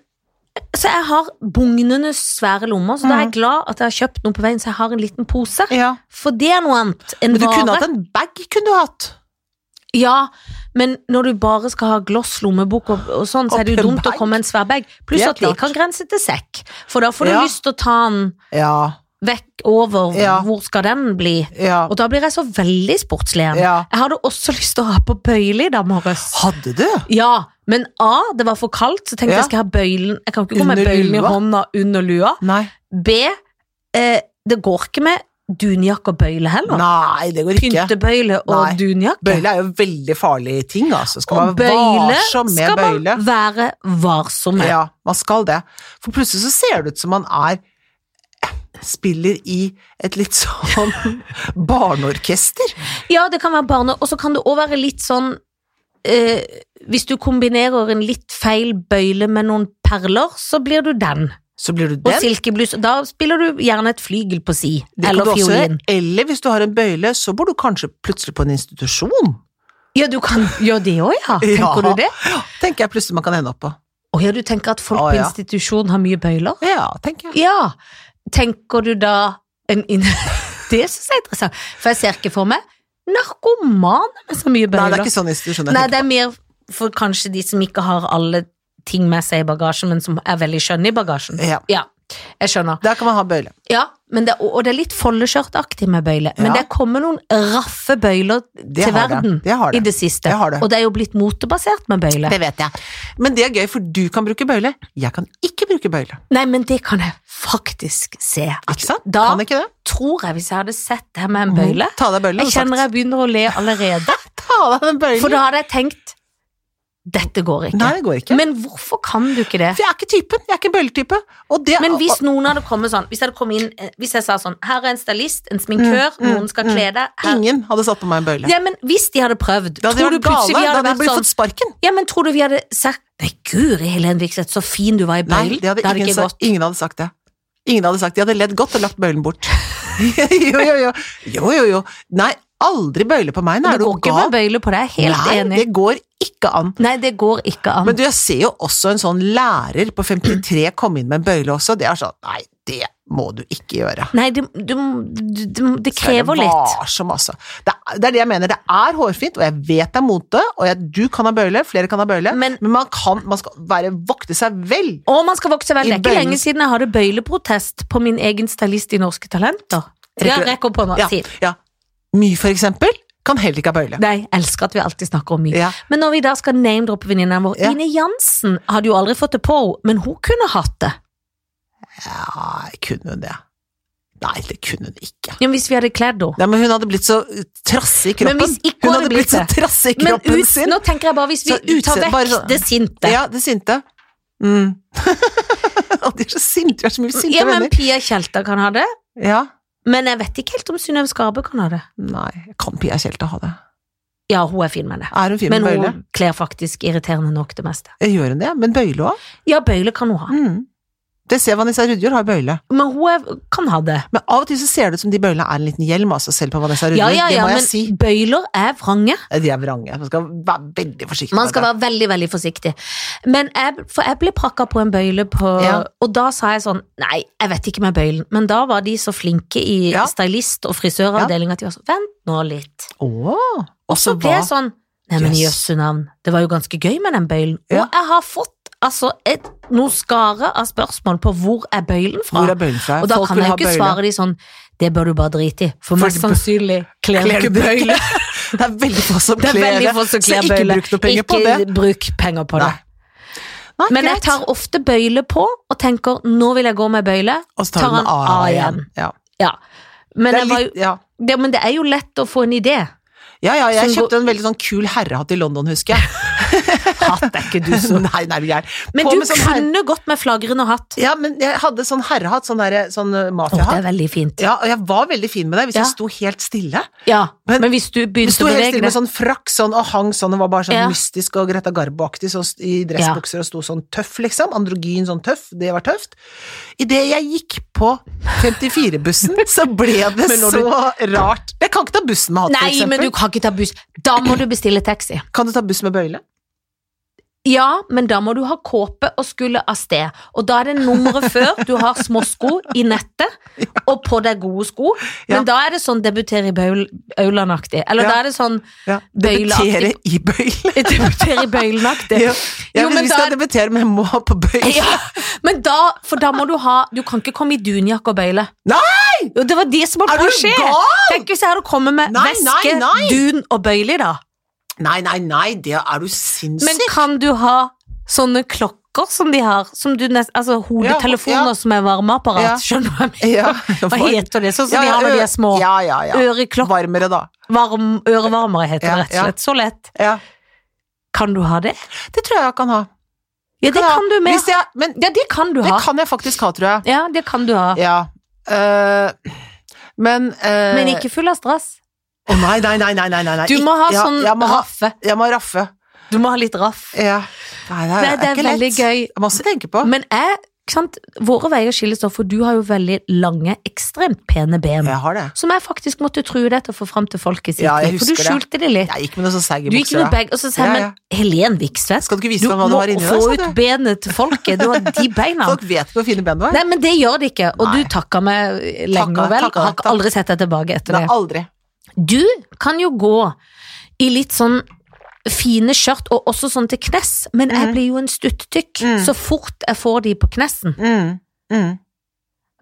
[SPEAKER 2] så jeg har bugnende svære lommer, så da er jeg glad at jeg har kjøpt noe på veien, så jeg har en liten pose.
[SPEAKER 1] Mm. Ja.
[SPEAKER 2] For det er noe annet enn
[SPEAKER 1] Men du kunne hatt
[SPEAKER 2] vare.
[SPEAKER 1] en bag, kunne du hatt.
[SPEAKER 2] Ja, men når du bare skal ha gloss, lommebok og, og sånn, så
[SPEAKER 1] Og
[SPEAKER 2] er det jo dumt å
[SPEAKER 1] pennbag.
[SPEAKER 2] komme med en svær bag. Pluss
[SPEAKER 1] Det er
[SPEAKER 2] at det
[SPEAKER 1] klart.
[SPEAKER 2] kan grense til sekk, for da får du
[SPEAKER 1] Ja.
[SPEAKER 2] lyst til å ta den
[SPEAKER 1] Ja,
[SPEAKER 2] vekk over.
[SPEAKER 1] Ja.
[SPEAKER 2] Hvor skal den bli?
[SPEAKER 1] ja.
[SPEAKER 2] Og da blir jeg så veldig sportslig igjen.
[SPEAKER 1] Ja.
[SPEAKER 2] Jeg hadde også lyst til å ha på bøyle i dag morges.
[SPEAKER 1] Hadde du?
[SPEAKER 2] Ja, men A, det var for kaldt, så tenkte
[SPEAKER 1] Ja.
[SPEAKER 2] jeg skal jeg ha bøylen Jeg kan ikke gå med
[SPEAKER 1] Under
[SPEAKER 2] bøylen i
[SPEAKER 1] lua?
[SPEAKER 2] hånda under lua.
[SPEAKER 1] Nei.
[SPEAKER 2] B, eh, det går ikke med dunjakke og bøyle heller.
[SPEAKER 1] Nei, det går ikke.
[SPEAKER 2] Pyntebøyle og
[SPEAKER 1] Nei.
[SPEAKER 2] dunjakke.
[SPEAKER 1] Bøyle er jo veldig farlig ting, altså. Skal man
[SPEAKER 2] og
[SPEAKER 1] være
[SPEAKER 2] bøyle
[SPEAKER 1] varsom med
[SPEAKER 2] skal man
[SPEAKER 1] bøyle?
[SPEAKER 2] være varsom med.
[SPEAKER 1] Ja, man skal det. For plutselig så ser det ut som man er eh, spiller i et litt sånn
[SPEAKER 2] [laughs]
[SPEAKER 1] barneorkester.
[SPEAKER 2] Ja, det kan være barne, og så kan det òg være litt sånn eh, Hvis du kombinerer en litt feil bøyle med noen perler, så blir du den.
[SPEAKER 1] Så blir du
[SPEAKER 2] Og
[SPEAKER 1] den.
[SPEAKER 2] silkebluss. Da spiller du gjerne et flygel på si,
[SPEAKER 1] Det kan
[SPEAKER 2] eller
[SPEAKER 1] du også
[SPEAKER 2] fiolin.
[SPEAKER 1] gjøre. Eller hvis du har en bøyle, så bor du kanskje plutselig på en institusjon.
[SPEAKER 2] Ja, du kan gjøre det òg, [laughs] ja. Tenker
[SPEAKER 1] Ja.
[SPEAKER 2] du det?
[SPEAKER 1] Tenker jeg plutselig man kan ende opp på.
[SPEAKER 2] Å ja, du tenker at folk
[SPEAKER 1] Å, ja.
[SPEAKER 2] på institusjon har mye bøyler?
[SPEAKER 1] Ja, tenker jeg.
[SPEAKER 2] Ja. Tenker du da en inn... [laughs] Det syns jeg er interessant, for jeg ser ikke for meg narkomane med så mye
[SPEAKER 1] Nei,
[SPEAKER 2] bøyler.
[SPEAKER 1] det er ikke sånn institusjon jeg
[SPEAKER 2] Nei,
[SPEAKER 1] tenker
[SPEAKER 2] det er mer for kanskje de som ikke har alle ting med seg i bagasjen, men som er veldig skjønne i bagasjen.
[SPEAKER 1] på. Ja.
[SPEAKER 2] Ja, jeg skjønner.
[SPEAKER 1] Der kan man ha bøyle.
[SPEAKER 2] Ja, men det, og det er litt foldeskjørtaktig med bøyle, men
[SPEAKER 1] Ja.
[SPEAKER 2] det kommer noen raffe bøyler
[SPEAKER 1] Det
[SPEAKER 2] til
[SPEAKER 1] har det.
[SPEAKER 2] verden
[SPEAKER 1] Det har
[SPEAKER 2] i
[SPEAKER 1] det.
[SPEAKER 2] det siste.
[SPEAKER 1] Det har det.
[SPEAKER 2] Og det er jo blitt motebasert med bøyle.
[SPEAKER 1] Det vet jeg. Men det er gøy, for du kan bruke bøyle. Jeg kan ikke bruke bøyle.
[SPEAKER 2] Nei, men det kan jeg faktisk se. At
[SPEAKER 1] Ikke sant?
[SPEAKER 2] Da
[SPEAKER 1] kan jeg ikke det?
[SPEAKER 2] tror jeg, hvis jeg hadde sett det her med en bøyle
[SPEAKER 1] Ta deg bøyle,
[SPEAKER 2] Jeg kjenner jeg begynner å le allerede,
[SPEAKER 1] Ta deg den bøylen.
[SPEAKER 2] for da hadde jeg tenkt Dette går ikke.
[SPEAKER 1] Nei, det går ikke.
[SPEAKER 2] Men hvorfor kan du ikke det?
[SPEAKER 1] for jeg er ikke typen. Jeg er ikke en bøyletype. Og det
[SPEAKER 2] Men hvis noen hadde kommet sånn Hvis jeg, hadde kommet inn, eh, hvis jeg sa sånn Her er en stylist, en sminkør,
[SPEAKER 1] Mm, mm,
[SPEAKER 2] noen skal
[SPEAKER 1] mm.
[SPEAKER 2] kle deg
[SPEAKER 1] og-
[SPEAKER 2] her.
[SPEAKER 1] Ingen hadde satt på meg en bøyle.
[SPEAKER 2] Ja, men Hvis de hadde prøvd,
[SPEAKER 1] Da hadde
[SPEAKER 2] tror
[SPEAKER 1] de
[SPEAKER 2] du
[SPEAKER 1] vært
[SPEAKER 2] plutselig
[SPEAKER 1] gale. Da
[SPEAKER 2] vi hadde
[SPEAKER 1] hadde de
[SPEAKER 2] vært
[SPEAKER 1] blitt
[SPEAKER 2] sånn
[SPEAKER 1] fått sparken.
[SPEAKER 2] Ja, men tror du vi hadde sagt Nei, guri, Helen Vikseth, så fin du var i
[SPEAKER 1] Nei,
[SPEAKER 2] bøylen.
[SPEAKER 1] det hadde
[SPEAKER 2] det hadde
[SPEAKER 1] ingen,
[SPEAKER 2] ikke
[SPEAKER 1] sagt,
[SPEAKER 2] gått.
[SPEAKER 1] ingen hadde sagt det. Ingen hadde sagt det. De hadde ledd godt og lagt bøylen bort. [laughs] jo, jo, jo. Jo, jo, jo. Nei, aldri bøyle på meg. Nei,
[SPEAKER 2] Det
[SPEAKER 1] er du
[SPEAKER 2] går ikke
[SPEAKER 1] gal?
[SPEAKER 2] med bøyle på deg, jeg er helt
[SPEAKER 1] Nei,
[SPEAKER 2] enig.
[SPEAKER 1] det går ikke an.
[SPEAKER 2] Nei, det går ikke an.
[SPEAKER 1] Men du, jeg ser jo også en sånn lærer på 53 komme inn med en bøyle også. Det er sånn, nei, det må du ikke gjøre.
[SPEAKER 2] Nei, det, du, du, du, det
[SPEAKER 1] Vær
[SPEAKER 2] krever litt.
[SPEAKER 1] Varsom, altså. Det, er- det er det jeg mener. Det er hårfint, og jeg vet det er mote, og jeg, du kan ha bøyle, flere kan ha bøyle,
[SPEAKER 2] Men-
[SPEAKER 1] men, man, kan, man skal være, vokte seg vel.
[SPEAKER 2] Og man skal vokse vel. Det
[SPEAKER 1] I
[SPEAKER 2] er ikke
[SPEAKER 1] bøylen.
[SPEAKER 2] lenge siden jeg hadde bøyleprotest på min egen stylist i Norske Talenter.
[SPEAKER 1] Rekker
[SPEAKER 2] Ja,
[SPEAKER 1] du-
[SPEAKER 2] rekk opp hånda.
[SPEAKER 1] Ja,
[SPEAKER 2] Si.
[SPEAKER 1] ja. My, for eksempel, kan heller ikke ha bøyle.
[SPEAKER 2] Nei, jeg elsker at vi alltid snakker om mye.
[SPEAKER 1] Ja.
[SPEAKER 2] Men når vi da skal name-droppe venninnen vår
[SPEAKER 1] Ja.
[SPEAKER 2] Ine Jansen hadde jo aldri fått det på henne, men hun kunne hatt det.
[SPEAKER 1] ja, kunne hun det? Nei, det kunne hun ikke.
[SPEAKER 2] Ja, men hvis vi hadde kledd henne.
[SPEAKER 1] Nei, men hun hadde blitt så trassig i
[SPEAKER 2] Men
[SPEAKER 1] kroppen.
[SPEAKER 2] hvis ikke
[SPEAKER 1] hun
[SPEAKER 2] hadde
[SPEAKER 1] hadde
[SPEAKER 2] blitt
[SPEAKER 1] blitt så
[SPEAKER 2] det.
[SPEAKER 1] trassig i
[SPEAKER 2] Men
[SPEAKER 1] kroppen
[SPEAKER 2] ut,
[SPEAKER 1] sin.
[SPEAKER 2] nå tenker jeg bare hvis vi
[SPEAKER 1] Så utse-
[SPEAKER 2] tar vekk
[SPEAKER 1] bare sånn-
[SPEAKER 2] det sinte. Ja,
[SPEAKER 1] Ja, det sinte. Mm. [laughs] Og de er så sinte, de er så mye sinte
[SPEAKER 2] men
[SPEAKER 1] venner.
[SPEAKER 2] Pia Tjelta kan ha det,
[SPEAKER 1] Ja.
[SPEAKER 2] men jeg vet ikke helt om Synnøve Skarbe kan ha det.
[SPEAKER 1] Nei, kan Pia Tjelta ha det?
[SPEAKER 2] Ja, hun er fin med det.
[SPEAKER 1] Er hun fin
[SPEAKER 2] Men
[SPEAKER 1] med bøyle?
[SPEAKER 2] hun kler faktisk irriterende nok det meste.
[SPEAKER 1] Gjør hun det? Men bøyle òg?
[SPEAKER 2] Ja, bøyle kan hun ha.
[SPEAKER 1] Mm. Det ser Vanessa Rudjord har bøyle.
[SPEAKER 2] Men hun er, kan ha det.
[SPEAKER 1] Men av og til så ser det ut som de bøylene er en liten hjelm, altså, selv på Vanessa Rudjord.
[SPEAKER 2] Ja, ja, ja,
[SPEAKER 1] det må
[SPEAKER 2] men
[SPEAKER 1] jeg si.
[SPEAKER 2] bøyler er vrange.
[SPEAKER 1] De er vrange. Man skal være veldig forsiktig.
[SPEAKER 2] Man
[SPEAKER 1] med
[SPEAKER 2] skal
[SPEAKER 1] det.
[SPEAKER 2] være veldig, veldig forsiktig. Men jeg, for jeg ble prakka på en bøyle på
[SPEAKER 1] Ja.
[SPEAKER 2] Og da sa jeg sånn Nei, jeg vet ikke med bøylen. Men da var de så flinke i
[SPEAKER 1] Ja.
[SPEAKER 2] stylist- og frisøravdelinga at de var sånn Vent nå litt.
[SPEAKER 1] Åh, og så
[SPEAKER 2] Så ble
[SPEAKER 1] hva?
[SPEAKER 2] jeg sånn Nei, men
[SPEAKER 1] Yes.
[SPEAKER 2] jøsse navn. Det var jo ganske gøy med den bøylen.
[SPEAKER 1] Ja.
[SPEAKER 2] Og jeg har fått altså et, noen skare av spørsmål på hvor er bøylen fra.
[SPEAKER 1] Hvor er bøylen fra?
[SPEAKER 2] Og da
[SPEAKER 1] Folk
[SPEAKER 2] kan
[SPEAKER 1] vil
[SPEAKER 2] jeg jo
[SPEAKER 1] ha
[SPEAKER 2] ikke
[SPEAKER 1] bøyle.
[SPEAKER 2] svare de sånn Det bør du bare drite i, for
[SPEAKER 1] For
[SPEAKER 2] mest
[SPEAKER 1] du-
[SPEAKER 2] sannsynlig kler du
[SPEAKER 1] Kler
[SPEAKER 2] ikke
[SPEAKER 1] du ikke?
[SPEAKER 2] bøyle.
[SPEAKER 1] Det er veldig få som
[SPEAKER 2] [laughs] Det er
[SPEAKER 1] kler
[SPEAKER 2] veldig
[SPEAKER 1] det,
[SPEAKER 2] få som
[SPEAKER 1] så
[SPEAKER 2] kler
[SPEAKER 1] ikke
[SPEAKER 2] bøyle.
[SPEAKER 1] bruk noe penger på det.
[SPEAKER 2] Ikke bruk penger på det.
[SPEAKER 1] Nei. Nei,
[SPEAKER 2] Men jeg
[SPEAKER 1] greit.
[SPEAKER 2] tar ofte bøyle på og tenker nå vil jeg gå med bøyle.
[SPEAKER 1] Og så tar
[SPEAKER 2] tar
[SPEAKER 1] den
[SPEAKER 2] han
[SPEAKER 1] av
[SPEAKER 2] av
[SPEAKER 1] igjen. Ja.
[SPEAKER 2] Ja. Men,
[SPEAKER 1] Det
[SPEAKER 2] det
[SPEAKER 1] er
[SPEAKER 2] var jo,
[SPEAKER 1] litt, ja.
[SPEAKER 2] det, men det er jo lett å få en idé.
[SPEAKER 1] ja, ja, jeg
[SPEAKER 2] Som går-
[SPEAKER 1] kjøpte en veldig sånn kul herrehatt i London, husker jeg.
[SPEAKER 2] Hatt er ikke du så
[SPEAKER 1] [laughs] Nei, nei, du er gæren.
[SPEAKER 2] Men
[SPEAKER 1] På
[SPEAKER 2] du
[SPEAKER 1] med sånn herre-
[SPEAKER 2] kunne gått med flagrende hatt.
[SPEAKER 1] Ja, men jeg hadde sånn herrehatt, sånn, der, sånn eh,
[SPEAKER 2] Å, det er
[SPEAKER 1] mafiahatt.
[SPEAKER 2] veldig fint.
[SPEAKER 1] Ja, og jeg var veldig fin med det, hvis
[SPEAKER 2] Ja.
[SPEAKER 1] jeg sto helt stille.
[SPEAKER 2] Ja,
[SPEAKER 1] Men-
[SPEAKER 2] men hvis du
[SPEAKER 1] Jeg
[SPEAKER 2] begynte
[SPEAKER 1] sto
[SPEAKER 2] å
[SPEAKER 1] helt
[SPEAKER 2] bevege
[SPEAKER 1] stille med
[SPEAKER 2] deg
[SPEAKER 1] sånn frakk sånn, og hang sånn, og var bare sånn
[SPEAKER 2] Ja.
[SPEAKER 1] mystisk og Greta Garbo-aktig sånn, i dressbukser og sto sånn tøff, liksom. Androgyn sånn tøff, det var tøft. Idet jeg gikk på
[SPEAKER 2] [laughs]
[SPEAKER 1] 54-bussen, så ble det
[SPEAKER 2] Men når
[SPEAKER 1] så
[SPEAKER 2] du-
[SPEAKER 1] rart. Jeg kan ikke ta bussen med hatt, for
[SPEAKER 2] Nei, men
[SPEAKER 1] eksempel.
[SPEAKER 2] du kan ikke ta buss. Da må du bestille taxi.
[SPEAKER 1] Kan du ta buss med bøyle?
[SPEAKER 2] Ja, men da må du ha kåpe og skulle av sted. Og da er det [laughs] nummeret før du har småsko i nettet, og på deg gode sko. Men
[SPEAKER 1] Ja.
[SPEAKER 2] da er det sånn debuter i Baul- Auland-aktig. Eller
[SPEAKER 1] Ja.
[SPEAKER 2] da er det [laughs] sånn
[SPEAKER 1] Ja.
[SPEAKER 2] Bøyleaktig.
[SPEAKER 1] Debutere i bøyle.
[SPEAKER 2] debuter i Bøylen-aktig.
[SPEAKER 1] Ja. Jeg
[SPEAKER 2] Jo,
[SPEAKER 1] vil
[SPEAKER 2] men
[SPEAKER 1] vi
[SPEAKER 2] da
[SPEAKER 1] skal
[SPEAKER 2] er-
[SPEAKER 1] debutere, men jeg må ha på bøyle.
[SPEAKER 2] Ja, men da, for da må du ha Du kan ikke komme i dunjakke og bøyle.
[SPEAKER 1] Nei!
[SPEAKER 2] Jo, det var det som
[SPEAKER 1] Er
[SPEAKER 2] holdt
[SPEAKER 1] du
[SPEAKER 2] på å skje!
[SPEAKER 1] gal?
[SPEAKER 2] Tenk hvis jeg hadde kommet med
[SPEAKER 1] Nei, nei,
[SPEAKER 2] veske,
[SPEAKER 1] nei.
[SPEAKER 2] dun og bøyle, da.
[SPEAKER 1] Nei, nei, nei, det er du
[SPEAKER 2] Men
[SPEAKER 1] sinnssyk.
[SPEAKER 2] kan du ha sånne klokker som de har? Som du nest, altså
[SPEAKER 1] Ja,
[SPEAKER 2] hodetelefoner
[SPEAKER 1] ja.
[SPEAKER 2] som er varmeapparat,
[SPEAKER 1] Ja.
[SPEAKER 2] skjønner du hva jeg mener?
[SPEAKER 1] Ja.
[SPEAKER 2] [laughs] Hva heter det? Sånn som de har når de er små.
[SPEAKER 1] Ja, ja, ja.
[SPEAKER 2] Øreklokk,
[SPEAKER 1] Varmere, da.
[SPEAKER 2] varm, ørevarmere heter
[SPEAKER 1] Ja,
[SPEAKER 2] det rett og
[SPEAKER 1] ja.
[SPEAKER 2] slett. Så lett.
[SPEAKER 1] Ja.
[SPEAKER 2] Kan du ha det?
[SPEAKER 1] Det tror jeg jeg kan ha.
[SPEAKER 2] Ja, det
[SPEAKER 1] jeg ha.
[SPEAKER 2] kan du med.
[SPEAKER 1] Hvis jeg, men
[SPEAKER 2] Ja, det kan du
[SPEAKER 1] det
[SPEAKER 2] ha.
[SPEAKER 1] kan jeg faktisk ha, tror jeg.
[SPEAKER 2] Ja, det kan du ha.
[SPEAKER 1] Ja. Eh, men eh,
[SPEAKER 2] Men ikke full av stress.
[SPEAKER 1] Å nei, nei, nei, nei, nei, nei, nei.
[SPEAKER 2] Du må ha
[SPEAKER 1] Ikke- ja,
[SPEAKER 2] sånn
[SPEAKER 1] jeg må ha,
[SPEAKER 2] raffe.
[SPEAKER 1] jeg må ha raffe.
[SPEAKER 2] Du må ha litt raff.
[SPEAKER 1] Ja. Nei, det er,
[SPEAKER 2] Nei, det er
[SPEAKER 1] ikke lett.
[SPEAKER 2] veldig gøy.
[SPEAKER 1] Det er Masse å tenke på.
[SPEAKER 2] Men jeg, ikke sant, våre veier skilles da, for du har jo veldig lange, ekstremt pene ben.
[SPEAKER 1] jeg har det.
[SPEAKER 2] Som jeg faktisk måtte true deg til å få fram til folk i sitt
[SPEAKER 1] Ja, jeg
[SPEAKER 2] liv, for du
[SPEAKER 1] husker det.
[SPEAKER 2] skjulte det litt.
[SPEAKER 1] Jeg gikk med noe sånn saggy
[SPEAKER 2] Du gikk med bag, og så sa jeg,
[SPEAKER 1] Ja,
[SPEAKER 2] men
[SPEAKER 1] ja.
[SPEAKER 2] Helen Vikstvedt,
[SPEAKER 1] Skal du ikke
[SPEAKER 2] du
[SPEAKER 1] vise dem hva
[SPEAKER 2] må
[SPEAKER 1] du har inni
[SPEAKER 2] få
[SPEAKER 1] deg?
[SPEAKER 2] ut
[SPEAKER 1] sa du?
[SPEAKER 2] benet til folket, du
[SPEAKER 1] [laughs]
[SPEAKER 2] har de beina.
[SPEAKER 1] Folk vet hvor fine ben du har.
[SPEAKER 2] Nei, men det gjør det ikke, og
[SPEAKER 1] Nei.
[SPEAKER 2] du takka meg lenge
[SPEAKER 1] Takka,
[SPEAKER 2] og vel,
[SPEAKER 1] takka,
[SPEAKER 2] har ikke
[SPEAKER 1] takka.
[SPEAKER 2] aldri sett deg tilbake etter
[SPEAKER 1] Nei,
[SPEAKER 2] det.
[SPEAKER 1] aldri.
[SPEAKER 2] Du kan jo gå i litt sånn fine skjørt, og også sånn til knes, men jeg
[SPEAKER 1] Mhm.
[SPEAKER 2] blir jo en stuttykk
[SPEAKER 1] Mm.
[SPEAKER 2] så fort jeg får de på knessen.
[SPEAKER 1] Mm. Mm.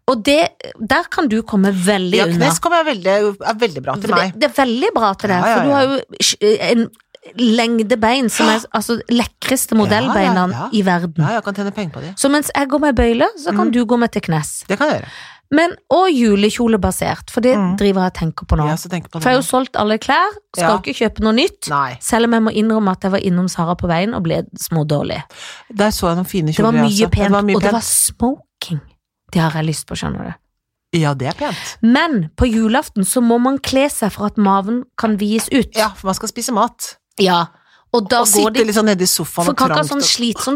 [SPEAKER 2] Og det, der kan du komme veldig
[SPEAKER 1] Ja,
[SPEAKER 2] unna.
[SPEAKER 1] knes kommer jeg veldig, er veldig bra til
[SPEAKER 2] For
[SPEAKER 1] meg.
[SPEAKER 2] Det, det er veldig bra til deg,
[SPEAKER 1] Ja, ja,
[SPEAKER 2] for du
[SPEAKER 1] ja.
[SPEAKER 2] har jo sj- eh, en lengde bein som er altså lekreste modellbeina
[SPEAKER 1] Ja, ja, ja.
[SPEAKER 2] i verden.
[SPEAKER 1] Ja, jeg kan tjene penger på det.
[SPEAKER 2] Så mens jeg går med bøyle, så kan
[SPEAKER 1] Mhm.
[SPEAKER 2] du gå med til knes.
[SPEAKER 1] Det kan jeg gjøre.
[SPEAKER 2] Men, og julekjolebasert, for det
[SPEAKER 1] Mhm.
[SPEAKER 2] driver jeg og tenker på nå.
[SPEAKER 1] Jeg også tenker på
[SPEAKER 2] For jeg har
[SPEAKER 1] det.
[SPEAKER 2] jo solgt alle klær, skal
[SPEAKER 1] sånn, Ja.
[SPEAKER 2] ikke kjøpe noe nytt.
[SPEAKER 1] Nei.
[SPEAKER 2] Selv om jeg må innrømme at jeg var innom Sara på veien og ble smådårlig.
[SPEAKER 1] Der så jeg noen fine
[SPEAKER 2] Det var
[SPEAKER 1] kjoler.
[SPEAKER 2] mye
[SPEAKER 1] altså.
[SPEAKER 2] pent,
[SPEAKER 1] Det var mye
[SPEAKER 2] og det
[SPEAKER 1] pent.
[SPEAKER 2] var smoking. Det har jeg lyst på, skjønner du.
[SPEAKER 1] Ja, det er pent.
[SPEAKER 2] Men på julaften så må man kle seg for at maven kan vies ut.
[SPEAKER 1] Ja, for man skal spise mat.
[SPEAKER 2] Ja, Og da
[SPEAKER 1] Og
[SPEAKER 2] går
[SPEAKER 1] sitte
[SPEAKER 2] det
[SPEAKER 1] litt sånn nede i sofaen
[SPEAKER 2] For
[SPEAKER 1] og
[SPEAKER 2] kan ikke ha
[SPEAKER 1] trangt.
[SPEAKER 2] sånn
[SPEAKER 1] og-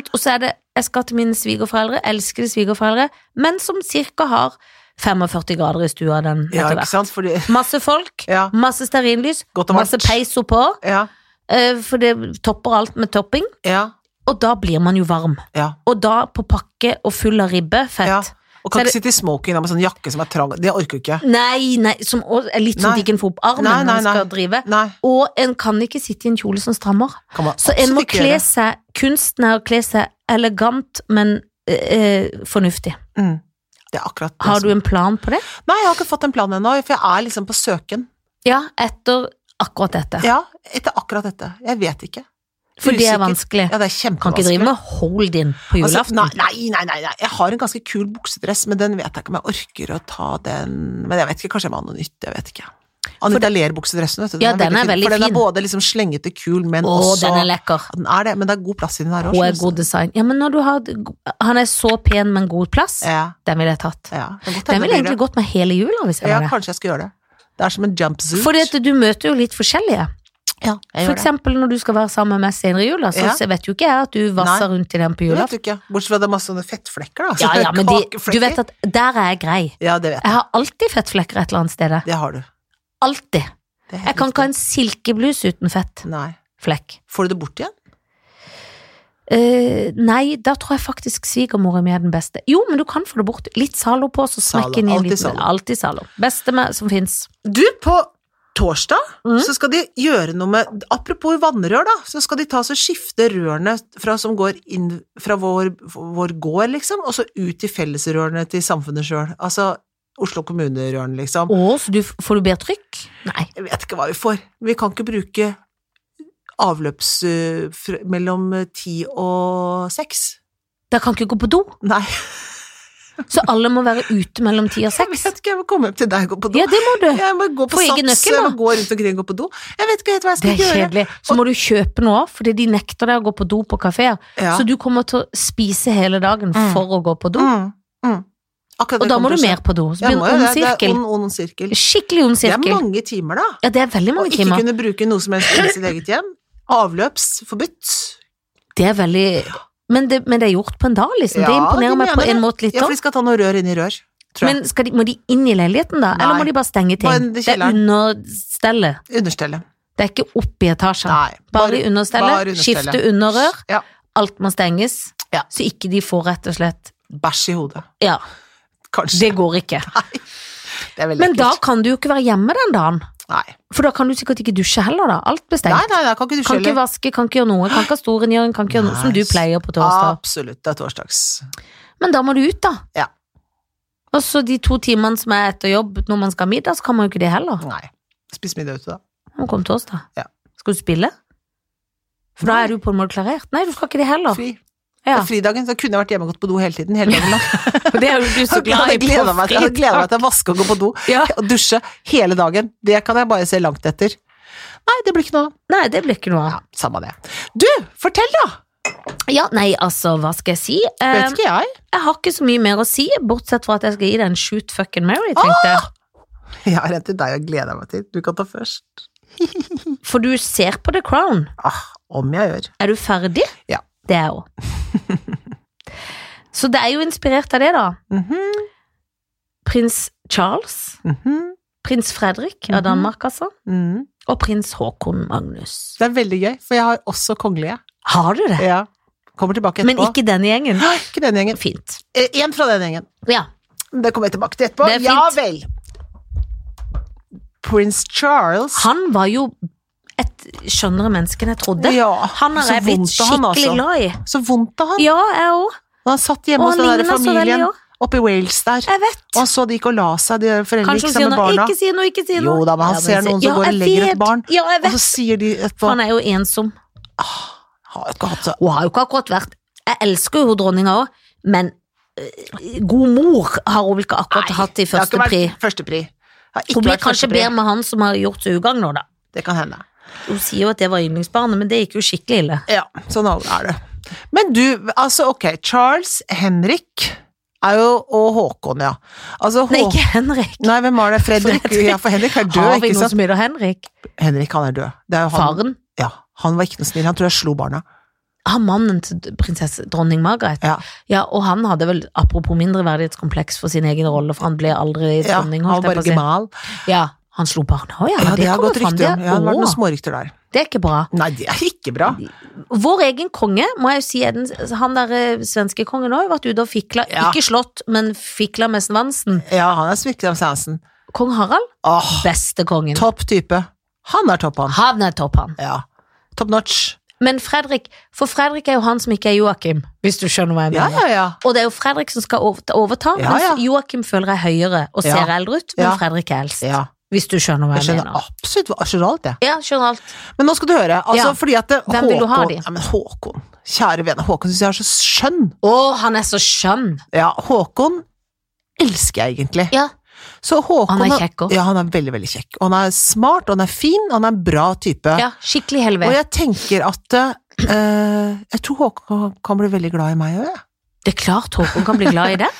[SPEAKER 2] slitsomt. Og så er det Jeg skal til mine svigerforeldre, elskede svigerforeldre, men som cirka har 45 grader i stua den
[SPEAKER 1] Ja,
[SPEAKER 2] etter
[SPEAKER 1] ikke
[SPEAKER 2] hvert.
[SPEAKER 1] sant? Fordi
[SPEAKER 2] Masse folk,
[SPEAKER 1] Ja.
[SPEAKER 2] masse stearinlys,
[SPEAKER 1] Godt og
[SPEAKER 2] masse
[SPEAKER 1] varmt.
[SPEAKER 2] peiso på,
[SPEAKER 1] Ja.
[SPEAKER 2] eh, for det topper alt med topping.
[SPEAKER 1] Ja.
[SPEAKER 2] Og da blir man jo varm.
[SPEAKER 1] ja.
[SPEAKER 2] Og da på pakke og full av ribbe, fett.
[SPEAKER 1] Ja. Og
[SPEAKER 2] Så er
[SPEAKER 1] kan
[SPEAKER 2] det-
[SPEAKER 1] ikke sitte i smoking da, med sånn jakke som er trang. Det orker du ikke.
[SPEAKER 2] Nei, nei, som også er litt sånn
[SPEAKER 1] Nei.
[SPEAKER 2] at de kan få opp armen
[SPEAKER 1] Nei, nei,
[SPEAKER 2] når man
[SPEAKER 1] nei.
[SPEAKER 2] skal drive.
[SPEAKER 1] Nei.
[SPEAKER 2] Og en kan ikke sitte i en kjole som strammer.
[SPEAKER 1] Kan man
[SPEAKER 2] Så en
[SPEAKER 1] absolutt
[SPEAKER 2] må
[SPEAKER 1] ikke
[SPEAKER 2] kle
[SPEAKER 1] gjøre.
[SPEAKER 2] seg kunstner og kle seg elegant, men eh, eh, fornuftig.
[SPEAKER 1] Mm. Det er akkurat det
[SPEAKER 2] Har
[SPEAKER 1] som-
[SPEAKER 2] du en plan på det?
[SPEAKER 1] Nei, jeg har ikke fått en plan ennå, for jeg er liksom på søken.
[SPEAKER 2] Ja, etter akkurat dette.
[SPEAKER 1] Ja, etter akkurat dette. Jeg vet ikke.
[SPEAKER 2] For det er
[SPEAKER 1] usikkert.
[SPEAKER 2] vanskelig.
[SPEAKER 1] Ja, det er
[SPEAKER 2] Kan ikke
[SPEAKER 1] kjempevanskelig.
[SPEAKER 2] drive med hold-in på julaften.
[SPEAKER 1] Altså, nei, nei, nei, nei. Jeg har en ganske kul buksedress, men den vet jeg ikke om jeg orker å ta den Men jeg vet ikke, kanskje jeg må ha noe nytt. Jeg vet ikke. Anita Ler-buksedressen, vet du.
[SPEAKER 2] Ja, den er veldig
[SPEAKER 1] For den
[SPEAKER 2] fin.
[SPEAKER 1] er både liksom slengete, kul, men
[SPEAKER 2] Å,
[SPEAKER 1] også
[SPEAKER 2] den er lekker.
[SPEAKER 1] Ja, den er det, men det er god plass i den her
[SPEAKER 2] Hun er
[SPEAKER 1] også,
[SPEAKER 2] god design. Ja, men når du har Han er så pen, men god plass.
[SPEAKER 1] Ja,
[SPEAKER 2] Den ville jeg tatt.
[SPEAKER 1] ja. Det er godt
[SPEAKER 2] Den
[SPEAKER 1] hende
[SPEAKER 2] ville
[SPEAKER 1] det
[SPEAKER 2] egentlig
[SPEAKER 1] blir det.
[SPEAKER 2] gått med hele jula, hvis jeg
[SPEAKER 1] Ja,
[SPEAKER 2] var det.
[SPEAKER 1] kanskje jeg skal gjøre det. Det er som en jumpsuit.
[SPEAKER 2] Fordi at du møter jo litt forskjellige.
[SPEAKER 1] ja, jeg
[SPEAKER 2] For
[SPEAKER 1] gjør det.
[SPEAKER 2] eksempel når du skal være sammen med meg senere i jula, så
[SPEAKER 1] Ja.
[SPEAKER 2] se- vet jo ikke jeg at du vasser rundt i den på
[SPEAKER 1] Det vet
[SPEAKER 2] julaften.
[SPEAKER 1] du ikke. Bortsett fra at det er masse sånne fettflekker, da.
[SPEAKER 2] Ja, ja, men de, du
[SPEAKER 1] Kakeflekker.
[SPEAKER 2] vet at der er jeg grei.
[SPEAKER 1] Ja, det vet jeg.
[SPEAKER 2] Jeg har alltid fettflekker et eller annet sted.
[SPEAKER 1] Det har du.
[SPEAKER 2] Alltid.
[SPEAKER 1] Det er helt
[SPEAKER 2] Jeg kan
[SPEAKER 1] riktig.
[SPEAKER 2] ikke ha en silkeblus uten fettflekk.
[SPEAKER 1] Nei. Får du det bort igjen?
[SPEAKER 2] Eh, nei, da tror jeg faktisk svigermora mi er den beste. Jo, men du kan få det bort. Litt Zalo på, så
[SPEAKER 1] Zalo.
[SPEAKER 2] smekker den i en
[SPEAKER 1] Alltid
[SPEAKER 2] liten
[SPEAKER 1] Zalo.
[SPEAKER 2] Alltid Zalo. Beste med, som fins.
[SPEAKER 1] Du, på torsdag
[SPEAKER 2] Mhm.
[SPEAKER 1] så skal de gjøre noe med Apropos vannrør, da, så skal de ta så skifte rørene fra, som går inn fra vår, vår gård, liksom, og så ut til fellesrørene til samfunnet sjøl. Altså Oslo kommune-rørene, liksom.
[SPEAKER 2] Å, så du, får du bedre trykk? Nei.
[SPEAKER 1] Jeg vet ikke hva vi får. Vi kan ikke bruke avløps... øh, fr- mellom ti og seks.
[SPEAKER 2] Da kan ikke gå på do.
[SPEAKER 1] Nei, [laughs]
[SPEAKER 2] Så alle må være ute mellom ti og
[SPEAKER 1] jeg
[SPEAKER 2] seks.
[SPEAKER 1] vet ikke, jeg må komme hjem til deg og gå på do.
[SPEAKER 2] Ja, det må du.
[SPEAKER 1] Jeg må gå på
[SPEAKER 2] Få egen
[SPEAKER 1] sats,
[SPEAKER 2] nøkkel,
[SPEAKER 1] jeg
[SPEAKER 2] da.
[SPEAKER 1] må gå rundt omkring og gå på do. Jeg vet ikke helt hva jeg skal
[SPEAKER 2] Det er
[SPEAKER 1] gjøre.
[SPEAKER 2] kjedelig. Så må du kjøpe noe, fordi de nekter deg å gå på do på kafeer.
[SPEAKER 1] Ja.
[SPEAKER 2] Så du kommer til å spise hele dagen
[SPEAKER 1] Mm.
[SPEAKER 2] for å gå på do.
[SPEAKER 1] Mm, mm. Akkurat
[SPEAKER 2] Og
[SPEAKER 1] det
[SPEAKER 2] da
[SPEAKER 1] kommer
[SPEAKER 2] må du
[SPEAKER 1] til å skje.
[SPEAKER 2] mer på do. Så
[SPEAKER 1] Jeg
[SPEAKER 2] blir
[SPEAKER 1] må
[SPEAKER 2] det
[SPEAKER 1] jo
[SPEAKER 2] en
[SPEAKER 1] det.
[SPEAKER 2] ond
[SPEAKER 1] Det er
[SPEAKER 2] sirkel.
[SPEAKER 1] ond, ond sirkel.
[SPEAKER 2] Skikkelig ond
[SPEAKER 1] Det er
[SPEAKER 2] sirkel.
[SPEAKER 1] mange timer, da.
[SPEAKER 2] Ja, det er veldig
[SPEAKER 1] Å
[SPEAKER 2] mange
[SPEAKER 1] ikke
[SPEAKER 2] timer.
[SPEAKER 1] kunne bruke noe som helst i sitt eget hjem. Avløps forbudt.
[SPEAKER 2] Det er veldig men det, men det er gjort på en dag, liksom. det
[SPEAKER 1] Ja,
[SPEAKER 2] imponerer
[SPEAKER 1] de
[SPEAKER 2] meg på
[SPEAKER 1] mener
[SPEAKER 2] en
[SPEAKER 1] det.
[SPEAKER 2] måte litt
[SPEAKER 1] Ja, for
[SPEAKER 2] òg.
[SPEAKER 1] de skal ta noe rør inn i rør. tror jeg.
[SPEAKER 2] sånn. Men skal de, må de inn i leiligheten, da? Eller
[SPEAKER 1] Nei.
[SPEAKER 2] må de bare stenge
[SPEAKER 1] Bare
[SPEAKER 2] ting?
[SPEAKER 1] i
[SPEAKER 2] Det er
[SPEAKER 1] kjelleren.
[SPEAKER 2] understellet.
[SPEAKER 1] Understellet.
[SPEAKER 2] Det er ikke opp i etasjen.
[SPEAKER 1] Nei.
[SPEAKER 2] bare i
[SPEAKER 1] bare
[SPEAKER 2] understellet.
[SPEAKER 1] understellet.
[SPEAKER 2] Skifte underrør.
[SPEAKER 1] Ja.
[SPEAKER 2] Alt må stenges.
[SPEAKER 1] Ja.
[SPEAKER 2] Så ikke de får rett og slett
[SPEAKER 1] Bæsj i hodet.
[SPEAKER 2] Ja,
[SPEAKER 1] Kanskje.
[SPEAKER 2] det går ikke.
[SPEAKER 1] Det, er veldig
[SPEAKER 2] Men da
[SPEAKER 1] ekkelt.
[SPEAKER 2] kan du jo ikke være hjemme den dagen.
[SPEAKER 1] Nei.
[SPEAKER 2] For da kan du sikkert ikke dusje heller, da. Alt blir
[SPEAKER 1] Nei,
[SPEAKER 2] stengt.
[SPEAKER 1] nei, nei, kan ikke du
[SPEAKER 2] Kan ikke
[SPEAKER 1] skjelle.
[SPEAKER 2] vaske, kan ikke gjøre noe. Kan ikke ha storrengjøring, kan ikke gjøre noe som du
[SPEAKER 1] Nei.
[SPEAKER 2] pleier på torsdag.
[SPEAKER 1] Absolutt, det er torsdags.
[SPEAKER 2] Men da må du ut, da.
[SPEAKER 1] Ja.
[SPEAKER 2] Og så de to timene som er etter jobb når man skal ha middag, så kan man jo ikke det heller.
[SPEAKER 1] Nei. Spis middag ute, da.
[SPEAKER 2] Man kommer torsdag.
[SPEAKER 1] Ja.
[SPEAKER 2] Skal du spille? For da er du på en måte klarert. Nei, du skal ikke det heller.
[SPEAKER 1] Fri.
[SPEAKER 2] Ja.
[SPEAKER 1] Og Fridagen så kunne jeg vært hjemme og gått på do hele tiden. Hele dagen lang.
[SPEAKER 2] For [laughs] det er jo
[SPEAKER 1] [laughs]
[SPEAKER 2] [laughs] du [laughs] så
[SPEAKER 1] Jeg
[SPEAKER 2] glad i.
[SPEAKER 1] hadde gleda meg, til- jeg hadde gledet meg til å vaske og gå på do [laughs]
[SPEAKER 2] Ja.
[SPEAKER 1] og dusje hele dagen. Det kan jeg bare se langt etter. Nei, det blir ikke noe av.
[SPEAKER 2] Nei, det blir ikke noe av.
[SPEAKER 1] Ja, samme det. Du, fortell da!
[SPEAKER 2] Ja, nei, altså, hva skal jeg si? Eh,
[SPEAKER 1] Vet ikke jeg.
[SPEAKER 2] jeg har ikke så mye mer å si, bortsett fra at jeg skal gi deg en shoot fucking Mary, tenkte jeg.
[SPEAKER 1] [laughs] Jeg har en til deg jeg gleder meg til. Du kan ta først.
[SPEAKER 2] For du ser på The Crown.
[SPEAKER 1] Ah, om jeg gjør.
[SPEAKER 2] Er du ferdig?
[SPEAKER 1] Ja.
[SPEAKER 2] Det er jeg òg. [laughs] så det er jo inspirert av det, da.
[SPEAKER 1] Mhm,
[SPEAKER 2] Prins Charles,
[SPEAKER 1] mhm,
[SPEAKER 2] prins Fredrik av
[SPEAKER 1] Mhm.
[SPEAKER 2] Danmark, altså,
[SPEAKER 1] mhm.
[SPEAKER 2] og prins Håkon Magnus.
[SPEAKER 1] Det er veldig gøy, for jeg har også kongelige.
[SPEAKER 2] Har du det?
[SPEAKER 1] Ja. Kommer tilbake etterpå.
[SPEAKER 2] Men ikke denne gjengen.
[SPEAKER 1] Nei, ikke den gjengen.
[SPEAKER 2] Fint.
[SPEAKER 1] Eh, En fra den gjengen.
[SPEAKER 2] Ja.
[SPEAKER 1] Det kommer jeg tilbake til etterpå.
[SPEAKER 2] Det er fint.
[SPEAKER 1] Ja vel. Prins Charles.
[SPEAKER 2] Han var jo et skjønnere menneske enn jeg trodde.
[SPEAKER 1] Ja,
[SPEAKER 2] Han har
[SPEAKER 1] så
[SPEAKER 2] jeg blitt
[SPEAKER 1] vondt av han,
[SPEAKER 2] skikkelig
[SPEAKER 1] altså.
[SPEAKER 2] glad i.
[SPEAKER 1] Så vondt av han.
[SPEAKER 2] Ja, jeg òg.
[SPEAKER 1] Når han satt
[SPEAKER 2] Og
[SPEAKER 1] hjemme hos
[SPEAKER 2] han
[SPEAKER 1] den der
[SPEAKER 2] ligner så veldig
[SPEAKER 1] familien
[SPEAKER 2] òg.
[SPEAKER 1] oppe i Wales der,
[SPEAKER 2] Jeg vet.
[SPEAKER 1] og han så de gikk og la seg, de foreldrene
[SPEAKER 2] Kanskje
[SPEAKER 1] gikk
[SPEAKER 2] hun sier
[SPEAKER 1] sammen med
[SPEAKER 2] noe,
[SPEAKER 1] barna,
[SPEAKER 2] ikke si noe, ikke si noe.
[SPEAKER 1] Jo da, men han ser noen
[SPEAKER 2] jeg
[SPEAKER 1] som
[SPEAKER 2] sier,
[SPEAKER 1] går og
[SPEAKER 2] jeg
[SPEAKER 1] legger et
[SPEAKER 2] vet.
[SPEAKER 1] barn.
[SPEAKER 2] Ja, jeg
[SPEAKER 1] og
[SPEAKER 2] vet.
[SPEAKER 1] så sier de etterpå
[SPEAKER 2] Han er jo ensom.
[SPEAKER 1] Har ikke hatt så
[SPEAKER 2] Hun har jo ikke akkurat vært Jeg elsker jo hun dronninga òg, men øh, god mor har hun vel ikke akkurat
[SPEAKER 1] Nei,
[SPEAKER 2] hatt i
[SPEAKER 1] det har ikke
[SPEAKER 2] første
[SPEAKER 1] vært
[SPEAKER 2] pri.
[SPEAKER 1] Førstepri. Det har ikke
[SPEAKER 2] Hun blir
[SPEAKER 1] vært
[SPEAKER 2] kanskje
[SPEAKER 1] førstepri.
[SPEAKER 2] bedre med han som har gjort seg ugagn nå, da.
[SPEAKER 1] Det kan hende.
[SPEAKER 2] Hun sier jo at det var yndlingsbarnet, men det gikk jo skikkelig ille.
[SPEAKER 1] Ja, sånn er det. Men du, altså ok, Charles Henrik er jo Og Håkon, ja. Altså
[SPEAKER 2] Nei,
[SPEAKER 1] Håkon
[SPEAKER 2] ikke Henrik.
[SPEAKER 1] Nei, hvem var det? Fredrik?
[SPEAKER 2] Fredrik.
[SPEAKER 1] Ja, for Henrik er død,
[SPEAKER 2] Har vi
[SPEAKER 1] ikke
[SPEAKER 2] noen
[SPEAKER 1] sant?
[SPEAKER 2] som heter Henrik?
[SPEAKER 1] Henrik, han er død. Det er jo han,
[SPEAKER 2] Faren?
[SPEAKER 1] ja, han var ikke noe snill. Han tror jeg slo barna.
[SPEAKER 2] Har mannen til prinsesse dronning Margaret?
[SPEAKER 1] Ja.
[SPEAKER 2] Ja, og han hadde vel, apropos mindreverdighetskompleks for sin egen rolle, for han ble aldri
[SPEAKER 1] Ja,
[SPEAKER 2] dronning,
[SPEAKER 1] han var
[SPEAKER 2] holdt jeg
[SPEAKER 1] bare
[SPEAKER 2] på å si.
[SPEAKER 1] gemal.
[SPEAKER 2] Ja, han slo barna òg, ja.
[SPEAKER 1] Ja,
[SPEAKER 2] Har
[SPEAKER 1] det har
[SPEAKER 2] kommet
[SPEAKER 1] gått
[SPEAKER 2] fram?
[SPEAKER 1] rykter om. Ja,
[SPEAKER 2] Det-
[SPEAKER 1] det har vært
[SPEAKER 2] Åh,
[SPEAKER 1] noen smårykter der.
[SPEAKER 2] det er ikke bra.
[SPEAKER 1] Nei, det er ikke bra.
[SPEAKER 2] Vår egen konge, må jeg jo si, er den, han der eh, svenske kongen òg, har vært ute og fikla.
[SPEAKER 1] Ja.
[SPEAKER 2] Ikke slått, men fikla med svansen.
[SPEAKER 1] Ja, han er sviklet av Sansen.
[SPEAKER 2] Kong Harald,
[SPEAKER 1] Åh,
[SPEAKER 2] beste kongen.
[SPEAKER 1] topp type. Han er topp, han.
[SPEAKER 2] Han er topp, han.
[SPEAKER 1] Ja. Top notch.
[SPEAKER 2] Men Fredrik, for Fredrik er jo han som ikke er Joakim, hvis du skjønner hva jeg
[SPEAKER 1] Ja,
[SPEAKER 2] mener.
[SPEAKER 1] ja, ja.
[SPEAKER 2] Og det er jo Fredrik som skal over- overta,
[SPEAKER 1] Ja, ja.
[SPEAKER 2] mens Joakim føler jeg er høyere og ser
[SPEAKER 1] Ja.
[SPEAKER 2] eldre ut, men
[SPEAKER 1] Ja.
[SPEAKER 2] Fredrik er eldst.
[SPEAKER 1] ja.
[SPEAKER 2] Hvis du skjønner hva
[SPEAKER 1] Jeg
[SPEAKER 2] jeg,
[SPEAKER 1] skjønner
[SPEAKER 2] mener.
[SPEAKER 1] absolutt hva- jeg skjønner alt, jeg.
[SPEAKER 2] Ja, skjønner alt.
[SPEAKER 1] Men nå skal du høre. Altså,
[SPEAKER 2] Ja.
[SPEAKER 1] fordi at det-
[SPEAKER 2] Hvem vil du ha
[SPEAKER 1] Håkon-
[SPEAKER 2] de?
[SPEAKER 1] Ja, men Håkon. Kjære vene, Håkon syns jeg er så skjønn.
[SPEAKER 2] Å, han er så skjønn!
[SPEAKER 1] Ja, Håkon elsker jeg egentlig.
[SPEAKER 2] Ja.
[SPEAKER 1] Så Håkon
[SPEAKER 2] Han er kjekk også.
[SPEAKER 1] Ja, han er veldig, veldig kjekk. Og han er smart, og han er fin, og han er en bra type.
[SPEAKER 2] Ja, skikkelig helvete.
[SPEAKER 1] og jeg tenker at eh, Jeg tror Håkon kan bli veldig glad i meg òg, jeg.
[SPEAKER 2] Det er klart Håkon kan bli glad
[SPEAKER 1] [laughs]
[SPEAKER 2] i det,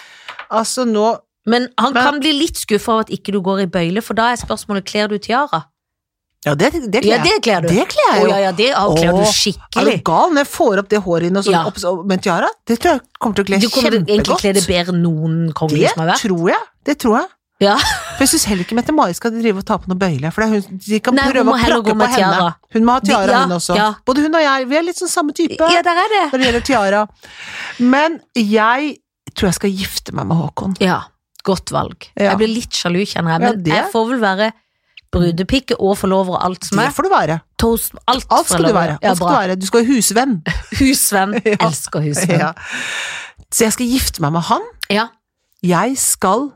[SPEAKER 1] Altså nå
[SPEAKER 2] men han
[SPEAKER 1] Men-
[SPEAKER 2] kan bli litt skuffa over at ikke du går i bøyle, for da er spørsmålet kler du tiara.
[SPEAKER 1] Ja, det, det kler
[SPEAKER 2] Ja,
[SPEAKER 1] jeg.
[SPEAKER 2] det kler du.
[SPEAKER 1] Det kler
[SPEAKER 2] Å
[SPEAKER 1] jeg jo.
[SPEAKER 2] ja, ja, det ja,
[SPEAKER 1] Å,
[SPEAKER 2] kler du
[SPEAKER 1] Er du
[SPEAKER 2] skikkelig.
[SPEAKER 1] gal når jeg får opp det håret inne og sånn
[SPEAKER 2] Ja.
[SPEAKER 1] opp så- med tiara? Det tror jeg kommer til å kle
[SPEAKER 2] Du kommer til å egentlig kle det
[SPEAKER 1] kjempegodt.
[SPEAKER 2] bedre enn noen konge som
[SPEAKER 1] Det
[SPEAKER 2] har vært.
[SPEAKER 1] tror jeg. Det tror jeg.
[SPEAKER 2] Ja.
[SPEAKER 1] For jeg syns heller ikke Mette-Marit skal drive og ta på noe bøyle. For det er hun, de kan
[SPEAKER 2] Nei, hun
[SPEAKER 1] prøve
[SPEAKER 2] må
[SPEAKER 1] å
[SPEAKER 2] heller gå
[SPEAKER 1] plakke
[SPEAKER 2] med
[SPEAKER 1] på henne.
[SPEAKER 2] tiara.
[SPEAKER 1] Hun må ha tiara,
[SPEAKER 2] Ja,
[SPEAKER 1] hun også.
[SPEAKER 2] ja.
[SPEAKER 1] Både hun og jeg, vi er litt sånn samme type
[SPEAKER 2] Ja, der er
[SPEAKER 1] når
[SPEAKER 2] det.
[SPEAKER 1] det gjelder tiara. Men jeg tror jeg skal gifte meg med Håkon.
[SPEAKER 2] Ja, godt valg.
[SPEAKER 1] Ja.
[SPEAKER 2] Jeg blir litt sjalu, kjenner jeg,
[SPEAKER 1] Ja,
[SPEAKER 2] men
[SPEAKER 1] det-
[SPEAKER 2] jeg får vel være brudepikke og forlover og alt som
[SPEAKER 1] Det
[SPEAKER 2] er.
[SPEAKER 1] får du være.
[SPEAKER 2] Toast, alt,
[SPEAKER 1] Alt skal du
[SPEAKER 2] forlover.
[SPEAKER 1] være.
[SPEAKER 2] Ja,
[SPEAKER 1] Alt skal du
[SPEAKER 2] bra.
[SPEAKER 1] være. Du skal være
[SPEAKER 2] [laughs]
[SPEAKER 1] husvenn.
[SPEAKER 2] Husvenn.
[SPEAKER 1] [laughs] Ja.
[SPEAKER 2] Elsker husvenn.
[SPEAKER 1] Ja. Så jeg skal gifte meg med han.
[SPEAKER 2] Ja.
[SPEAKER 1] Jeg skal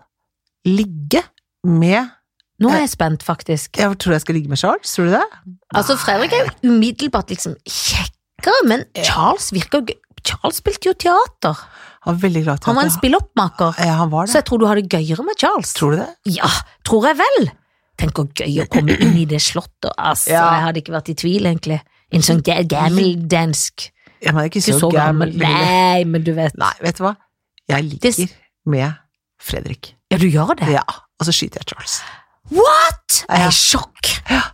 [SPEAKER 1] ligge med
[SPEAKER 2] Nå er jeg spent, faktisk.
[SPEAKER 1] Jeg tror jeg skal ligge med Charles, tror du det?
[SPEAKER 2] Altså, Fredrik er jo umiddelbart liksom kjekkere, men Charles virker jo gøy. Charles spilte jo teater.
[SPEAKER 1] Han var veldig glad til
[SPEAKER 2] Han var
[SPEAKER 1] at
[SPEAKER 2] en spilloppmaker.
[SPEAKER 1] jeg- Ja, han var
[SPEAKER 2] Så
[SPEAKER 1] det.
[SPEAKER 2] jeg tror du har det gøyere med Charles.
[SPEAKER 1] Tror du det?
[SPEAKER 2] Ja, tror jeg vel. Tenk hvor gøy å komme inn i det slottet. Altså,
[SPEAKER 1] Ja.
[SPEAKER 2] Jeg hadde ikke vært i tvil, egentlig. En sånn ga- gammel dansk.
[SPEAKER 1] Jeg er ikke
[SPEAKER 2] Ikke
[SPEAKER 1] så,
[SPEAKER 2] så gammel.
[SPEAKER 1] gammel. Lille.
[SPEAKER 2] Nei, men du vet.
[SPEAKER 1] Nei, vet du hva? Jeg
[SPEAKER 2] Det
[SPEAKER 1] ligger
[SPEAKER 2] s-
[SPEAKER 1] med Fredrik.
[SPEAKER 2] Ja, du gjør det.
[SPEAKER 1] Ja, og så skyter jeg Charles.
[SPEAKER 2] What?! Jeg
[SPEAKER 1] Ja.
[SPEAKER 2] er i sjokk.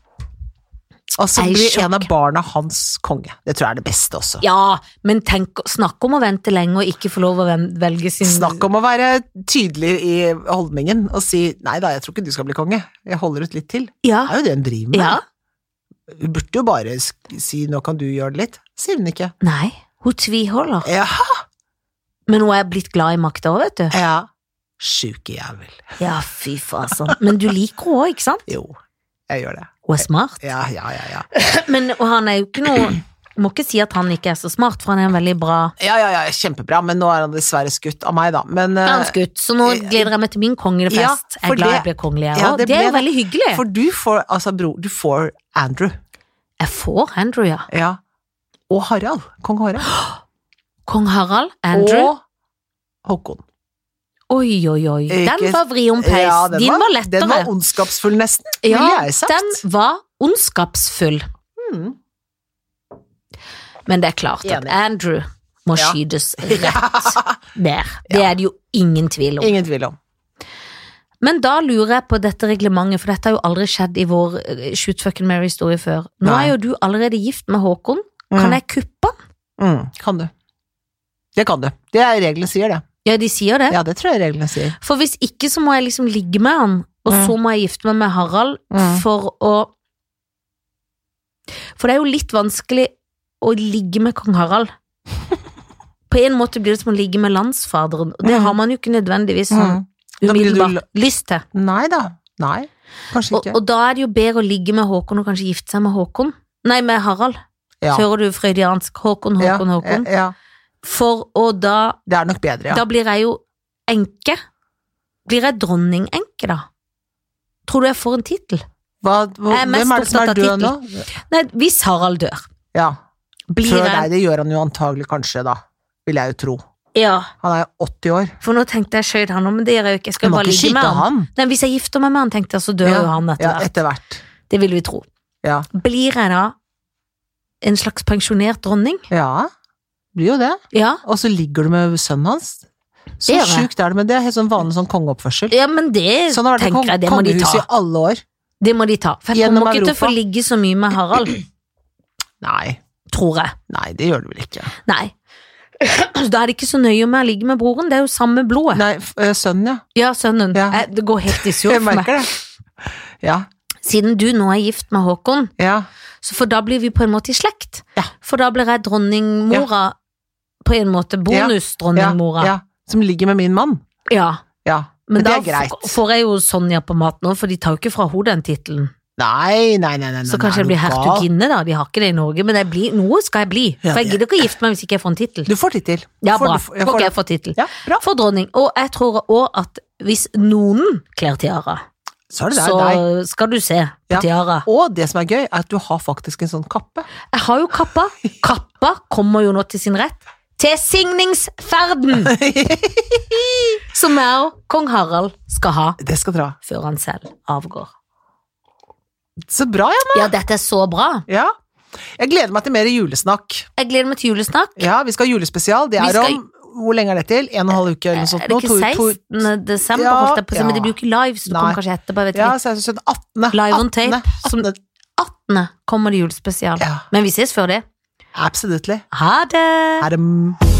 [SPEAKER 1] Og så
[SPEAKER 2] Ei,
[SPEAKER 1] blir
[SPEAKER 2] sjokk.
[SPEAKER 1] en av barna hans konge. Det tror jeg er det beste også.
[SPEAKER 2] Ja, men tenk, snakk om å vente lenge og ikke få lov å ven- velge sin
[SPEAKER 1] Snakk om å være tydelig i holdningen og si 'nei da, jeg tror ikke du skal bli konge', jeg holder ut litt til.
[SPEAKER 2] Ja.
[SPEAKER 1] Det er jo det hun driver med.
[SPEAKER 2] ja.
[SPEAKER 1] Hun burde jo bare sk- si 'nå kan du gjøre det litt', sier hun ikke.
[SPEAKER 2] Nei, hun tviholder.
[SPEAKER 1] Ja,
[SPEAKER 2] Men hun er blitt glad i makta òg, vet du.
[SPEAKER 1] ja. Sjuke jævel.
[SPEAKER 2] Ja, fy faen. sånn. Men du liker henne òg, ikke sant?
[SPEAKER 1] Jo, jeg gjør det.
[SPEAKER 2] Hun er smart.
[SPEAKER 1] Ja, ja, ja. Ja,
[SPEAKER 2] Men og han er jo ikke noe Må ikke si at han ikke er så smart, for han er en veldig bra
[SPEAKER 1] ja, ja, ja kjempebra, men nå er han dessverre skutt av meg, da. Men, eh,
[SPEAKER 2] Granskutt, så nå gleder jeg meg til min kongelefest.
[SPEAKER 1] Ja,
[SPEAKER 2] jeg
[SPEAKER 1] for
[SPEAKER 2] er glad
[SPEAKER 1] det-
[SPEAKER 2] jeg ble kongelig, jeg
[SPEAKER 1] Ja,
[SPEAKER 2] òg.
[SPEAKER 1] det
[SPEAKER 2] det, er
[SPEAKER 1] ble
[SPEAKER 2] jo
[SPEAKER 1] det.
[SPEAKER 2] veldig hyggelig.
[SPEAKER 1] For du får, altså bror, du får Andrew.
[SPEAKER 2] Jeg får Andrew, ja.
[SPEAKER 1] Ja. Og Harald. Kong Harald.
[SPEAKER 2] Kong Harald, Andrew.
[SPEAKER 1] Og Håkon.
[SPEAKER 2] Oi, oi, oi. Den
[SPEAKER 1] Ikke-
[SPEAKER 2] var vri om peis.
[SPEAKER 1] Ja,
[SPEAKER 2] Din var, lettere.
[SPEAKER 1] Den var ondskapsfull, nesten,
[SPEAKER 2] ja,
[SPEAKER 1] ville jeg sagt.
[SPEAKER 2] Mm. den var ondskapsfull.
[SPEAKER 1] Mm.
[SPEAKER 2] Men det er klart at
[SPEAKER 1] Enig.
[SPEAKER 2] Andrew må
[SPEAKER 1] [laughs] Ja.
[SPEAKER 2] skytes rett der. Det er det jo ingen tvil om.
[SPEAKER 1] Ingen tvil om.
[SPEAKER 2] Men da lurer jeg på dette reglementet, for dette har jo aldri skjedd i vår eh, Shoot Fucking Mary-historie før. Nå
[SPEAKER 1] Nei.
[SPEAKER 2] er jo du allerede gift med Håkon. Kan jeg kuppe han?
[SPEAKER 1] Mm, kan du. Det kan du. Det er reglene sier, det.
[SPEAKER 2] Ja, de sier det.
[SPEAKER 1] Ja, det tror jeg reglene sier.
[SPEAKER 2] For hvis ikke, så må jeg liksom ligge med han, og
[SPEAKER 1] Mm.
[SPEAKER 2] så må jeg gifte meg med Harald
[SPEAKER 1] Mm.
[SPEAKER 2] for å For det er jo litt vanskelig å ligge med kong
[SPEAKER 1] [laughs]
[SPEAKER 2] Harald. På en måte blir det som å ligge med landsfaderen, og det
[SPEAKER 1] Mm.
[SPEAKER 2] har man jo ikke nødvendigvis sånn
[SPEAKER 1] Mm. Da blir du
[SPEAKER 2] umiddelbart lyst til.
[SPEAKER 1] Nei da. Nei. Kanskje
[SPEAKER 2] Og,
[SPEAKER 1] ikke.
[SPEAKER 2] og da er det jo bedre å ligge med Håkon og kanskje gifte seg med Håkon. Nei, med Harald.
[SPEAKER 1] Ja.
[SPEAKER 2] Hører du freudiansk? Håkon,
[SPEAKER 1] Ja,
[SPEAKER 2] Håkon, Håkon.
[SPEAKER 1] eh, Ja,
[SPEAKER 2] For å da
[SPEAKER 1] det er nok bedre, ja.
[SPEAKER 2] Da blir jeg jo enke. Blir jeg dronningenke, da? Tror du jeg får en tittel?
[SPEAKER 1] Hva, hva,
[SPEAKER 2] Jeg er mest
[SPEAKER 1] hvem er det som er
[SPEAKER 2] opptatt av
[SPEAKER 1] død nå?
[SPEAKER 2] Nei, hvis Harald dør,
[SPEAKER 1] Ja.
[SPEAKER 2] blir
[SPEAKER 1] Før deg,
[SPEAKER 2] jeg
[SPEAKER 1] det gjør han jo antagelig kanskje, da. Vil jeg jo tro.
[SPEAKER 2] Ja,
[SPEAKER 1] Han er jo 80 år.
[SPEAKER 2] for nå tenkte jeg skjøt han, nå, men det gjør jeg jo ikke.
[SPEAKER 1] Du
[SPEAKER 2] Jeg skal
[SPEAKER 1] må
[SPEAKER 2] bare
[SPEAKER 1] ikke
[SPEAKER 2] ligge med
[SPEAKER 1] skyte
[SPEAKER 2] han.
[SPEAKER 1] han.
[SPEAKER 2] Nei, hvis jeg gifter meg med han, tenkte jeg, så dør
[SPEAKER 1] Ja,
[SPEAKER 2] jo han etter
[SPEAKER 1] Ja,
[SPEAKER 2] hvert.
[SPEAKER 1] etter hvert.
[SPEAKER 2] Det vil vi tro.
[SPEAKER 1] Ja.
[SPEAKER 2] Blir jeg da en slags pensjonert dronning?
[SPEAKER 1] ja. Blir jo det.
[SPEAKER 2] Ja.
[SPEAKER 1] Og så ligger du med sønnen hans. Så
[SPEAKER 2] Det gjør jeg.
[SPEAKER 1] sjukt er det, men det er helt sånn vanlig sånn kongeoppførsel.
[SPEAKER 2] Ja, men det
[SPEAKER 1] Sånn har det vært i
[SPEAKER 2] tenker jeg, det
[SPEAKER 1] kong-
[SPEAKER 2] må de
[SPEAKER 1] kongehuset
[SPEAKER 2] ta.
[SPEAKER 1] i alle år.
[SPEAKER 2] Det må de ta. For jeg
[SPEAKER 1] Gjennom
[SPEAKER 2] kommer ikke til å få
[SPEAKER 1] Europa.
[SPEAKER 2] ligge så mye med Harald,
[SPEAKER 1] Nei.
[SPEAKER 2] tror jeg.
[SPEAKER 1] Nei, det gjør du vel ikke.
[SPEAKER 2] Nei. Da er det ikke så nøye om jeg ligger med broren, det er jo samme blodet.
[SPEAKER 1] Nei, f- eh, sønnen, ja.
[SPEAKER 2] Ja, sønnen.
[SPEAKER 1] Ja.
[SPEAKER 2] Jeg, det går helt i
[SPEAKER 1] [laughs]
[SPEAKER 2] surr
[SPEAKER 1] Jeg
[SPEAKER 2] for meg.
[SPEAKER 1] merker det. Ja.
[SPEAKER 2] Siden du nå er gift med Håkon,
[SPEAKER 1] Ja.
[SPEAKER 2] så for da blir vi på en måte i slekt.
[SPEAKER 1] Ja.
[SPEAKER 2] For da blir jeg dronningmora, på en måte
[SPEAKER 1] Ja.
[SPEAKER 2] bonusdronningmora. Ja.
[SPEAKER 1] ja. Som ligger med min mann. Ja.
[SPEAKER 2] Men,
[SPEAKER 1] Men det
[SPEAKER 2] da
[SPEAKER 1] er greit.
[SPEAKER 2] f- får jeg jo Sonja på mat nå, for de tar jo ikke fra henne den tittelen.
[SPEAKER 1] Nei, nei, nei, nei.
[SPEAKER 2] Så
[SPEAKER 1] nei,
[SPEAKER 2] kanskje
[SPEAKER 1] er
[SPEAKER 2] jeg
[SPEAKER 1] du
[SPEAKER 2] blir
[SPEAKER 1] gal?
[SPEAKER 2] hertuginne, da. De har ikke det i Norge, men jeg blir, noe skal jeg bli.
[SPEAKER 1] Ja,
[SPEAKER 2] For jeg
[SPEAKER 1] ja.
[SPEAKER 2] gidder ikke å gifte meg hvis ikke jeg får en tittel.
[SPEAKER 1] Du får tittel.
[SPEAKER 2] Ja,
[SPEAKER 1] Får-
[SPEAKER 2] bra.
[SPEAKER 1] du får- jeg får
[SPEAKER 2] Ok,
[SPEAKER 1] det.
[SPEAKER 2] jeg får tittel.
[SPEAKER 1] Ja, bra.
[SPEAKER 2] For dronning. Og jeg tror òg at hvis noen kler tiara,
[SPEAKER 1] Så er det der, deg.
[SPEAKER 2] så skal du se på
[SPEAKER 1] Ja.
[SPEAKER 2] tiara.
[SPEAKER 1] Og det som er gøy, er at du har faktisk en sånn kappe.
[SPEAKER 2] Jeg har jo kappa. Kappa kommer jo nå til sin rett. Til
[SPEAKER 1] [laughs]
[SPEAKER 2] signingsferden! Som jeg og kong Harald skal ha
[SPEAKER 1] Det skal dra.
[SPEAKER 2] før han selv avgår.
[SPEAKER 1] Så bra, Janne.
[SPEAKER 2] Ja, dette er så bra.
[SPEAKER 1] Ja. Jeg gleder meg til mer julesnakk.
[SPEAKER 2] Jeg gleder meg til julesnakk.
[SPEAKER 1] Ja, vi skal ha julespesial. Det
[SPEAKER 2] Vi
[SPEAKER 1] er
[SPEAKER 2] skal-
[SPEAKER 1] om Hvor lenge er det til? En og en halv uke eller noe sånt?
[SPEAKER 2] Er det
[SPEAKER 1] nå?
[SPEAKER 2] ikke
[SPEAKER 1] To- to-
[SPEAKER 2] 16. desember,
[SPEAKER 1] Ja,
[SPEAKER 2] holdt jeg på å si, men det
[SPEAKER 1] ja.
[SPEAKER 2] blir jo ikke live, så det
[SPEAKER 1] Nei.
[SPEAKER 2] kommer kanskje etterpå. Jeg vet
[SPEAKER 1] Ja,
[SPEAKER 2] ikke.
[SPEAKER 1] 16, 17, 18.
[SPEAKER 2] Live on
[SPEAKER 1] 18.
[SPEAKER 2] tape, som-
[SPEAKER 1] 18.
[SPEAKER 2] 18. kommer det julespesial.
[SPEAKER 1] Ja,
[SPEAKER 2] Men vi ses før det.
[SPEAKER 1] absolutely.
[SPEAKER 2] Ha det!
[SPEAKER 1] Er det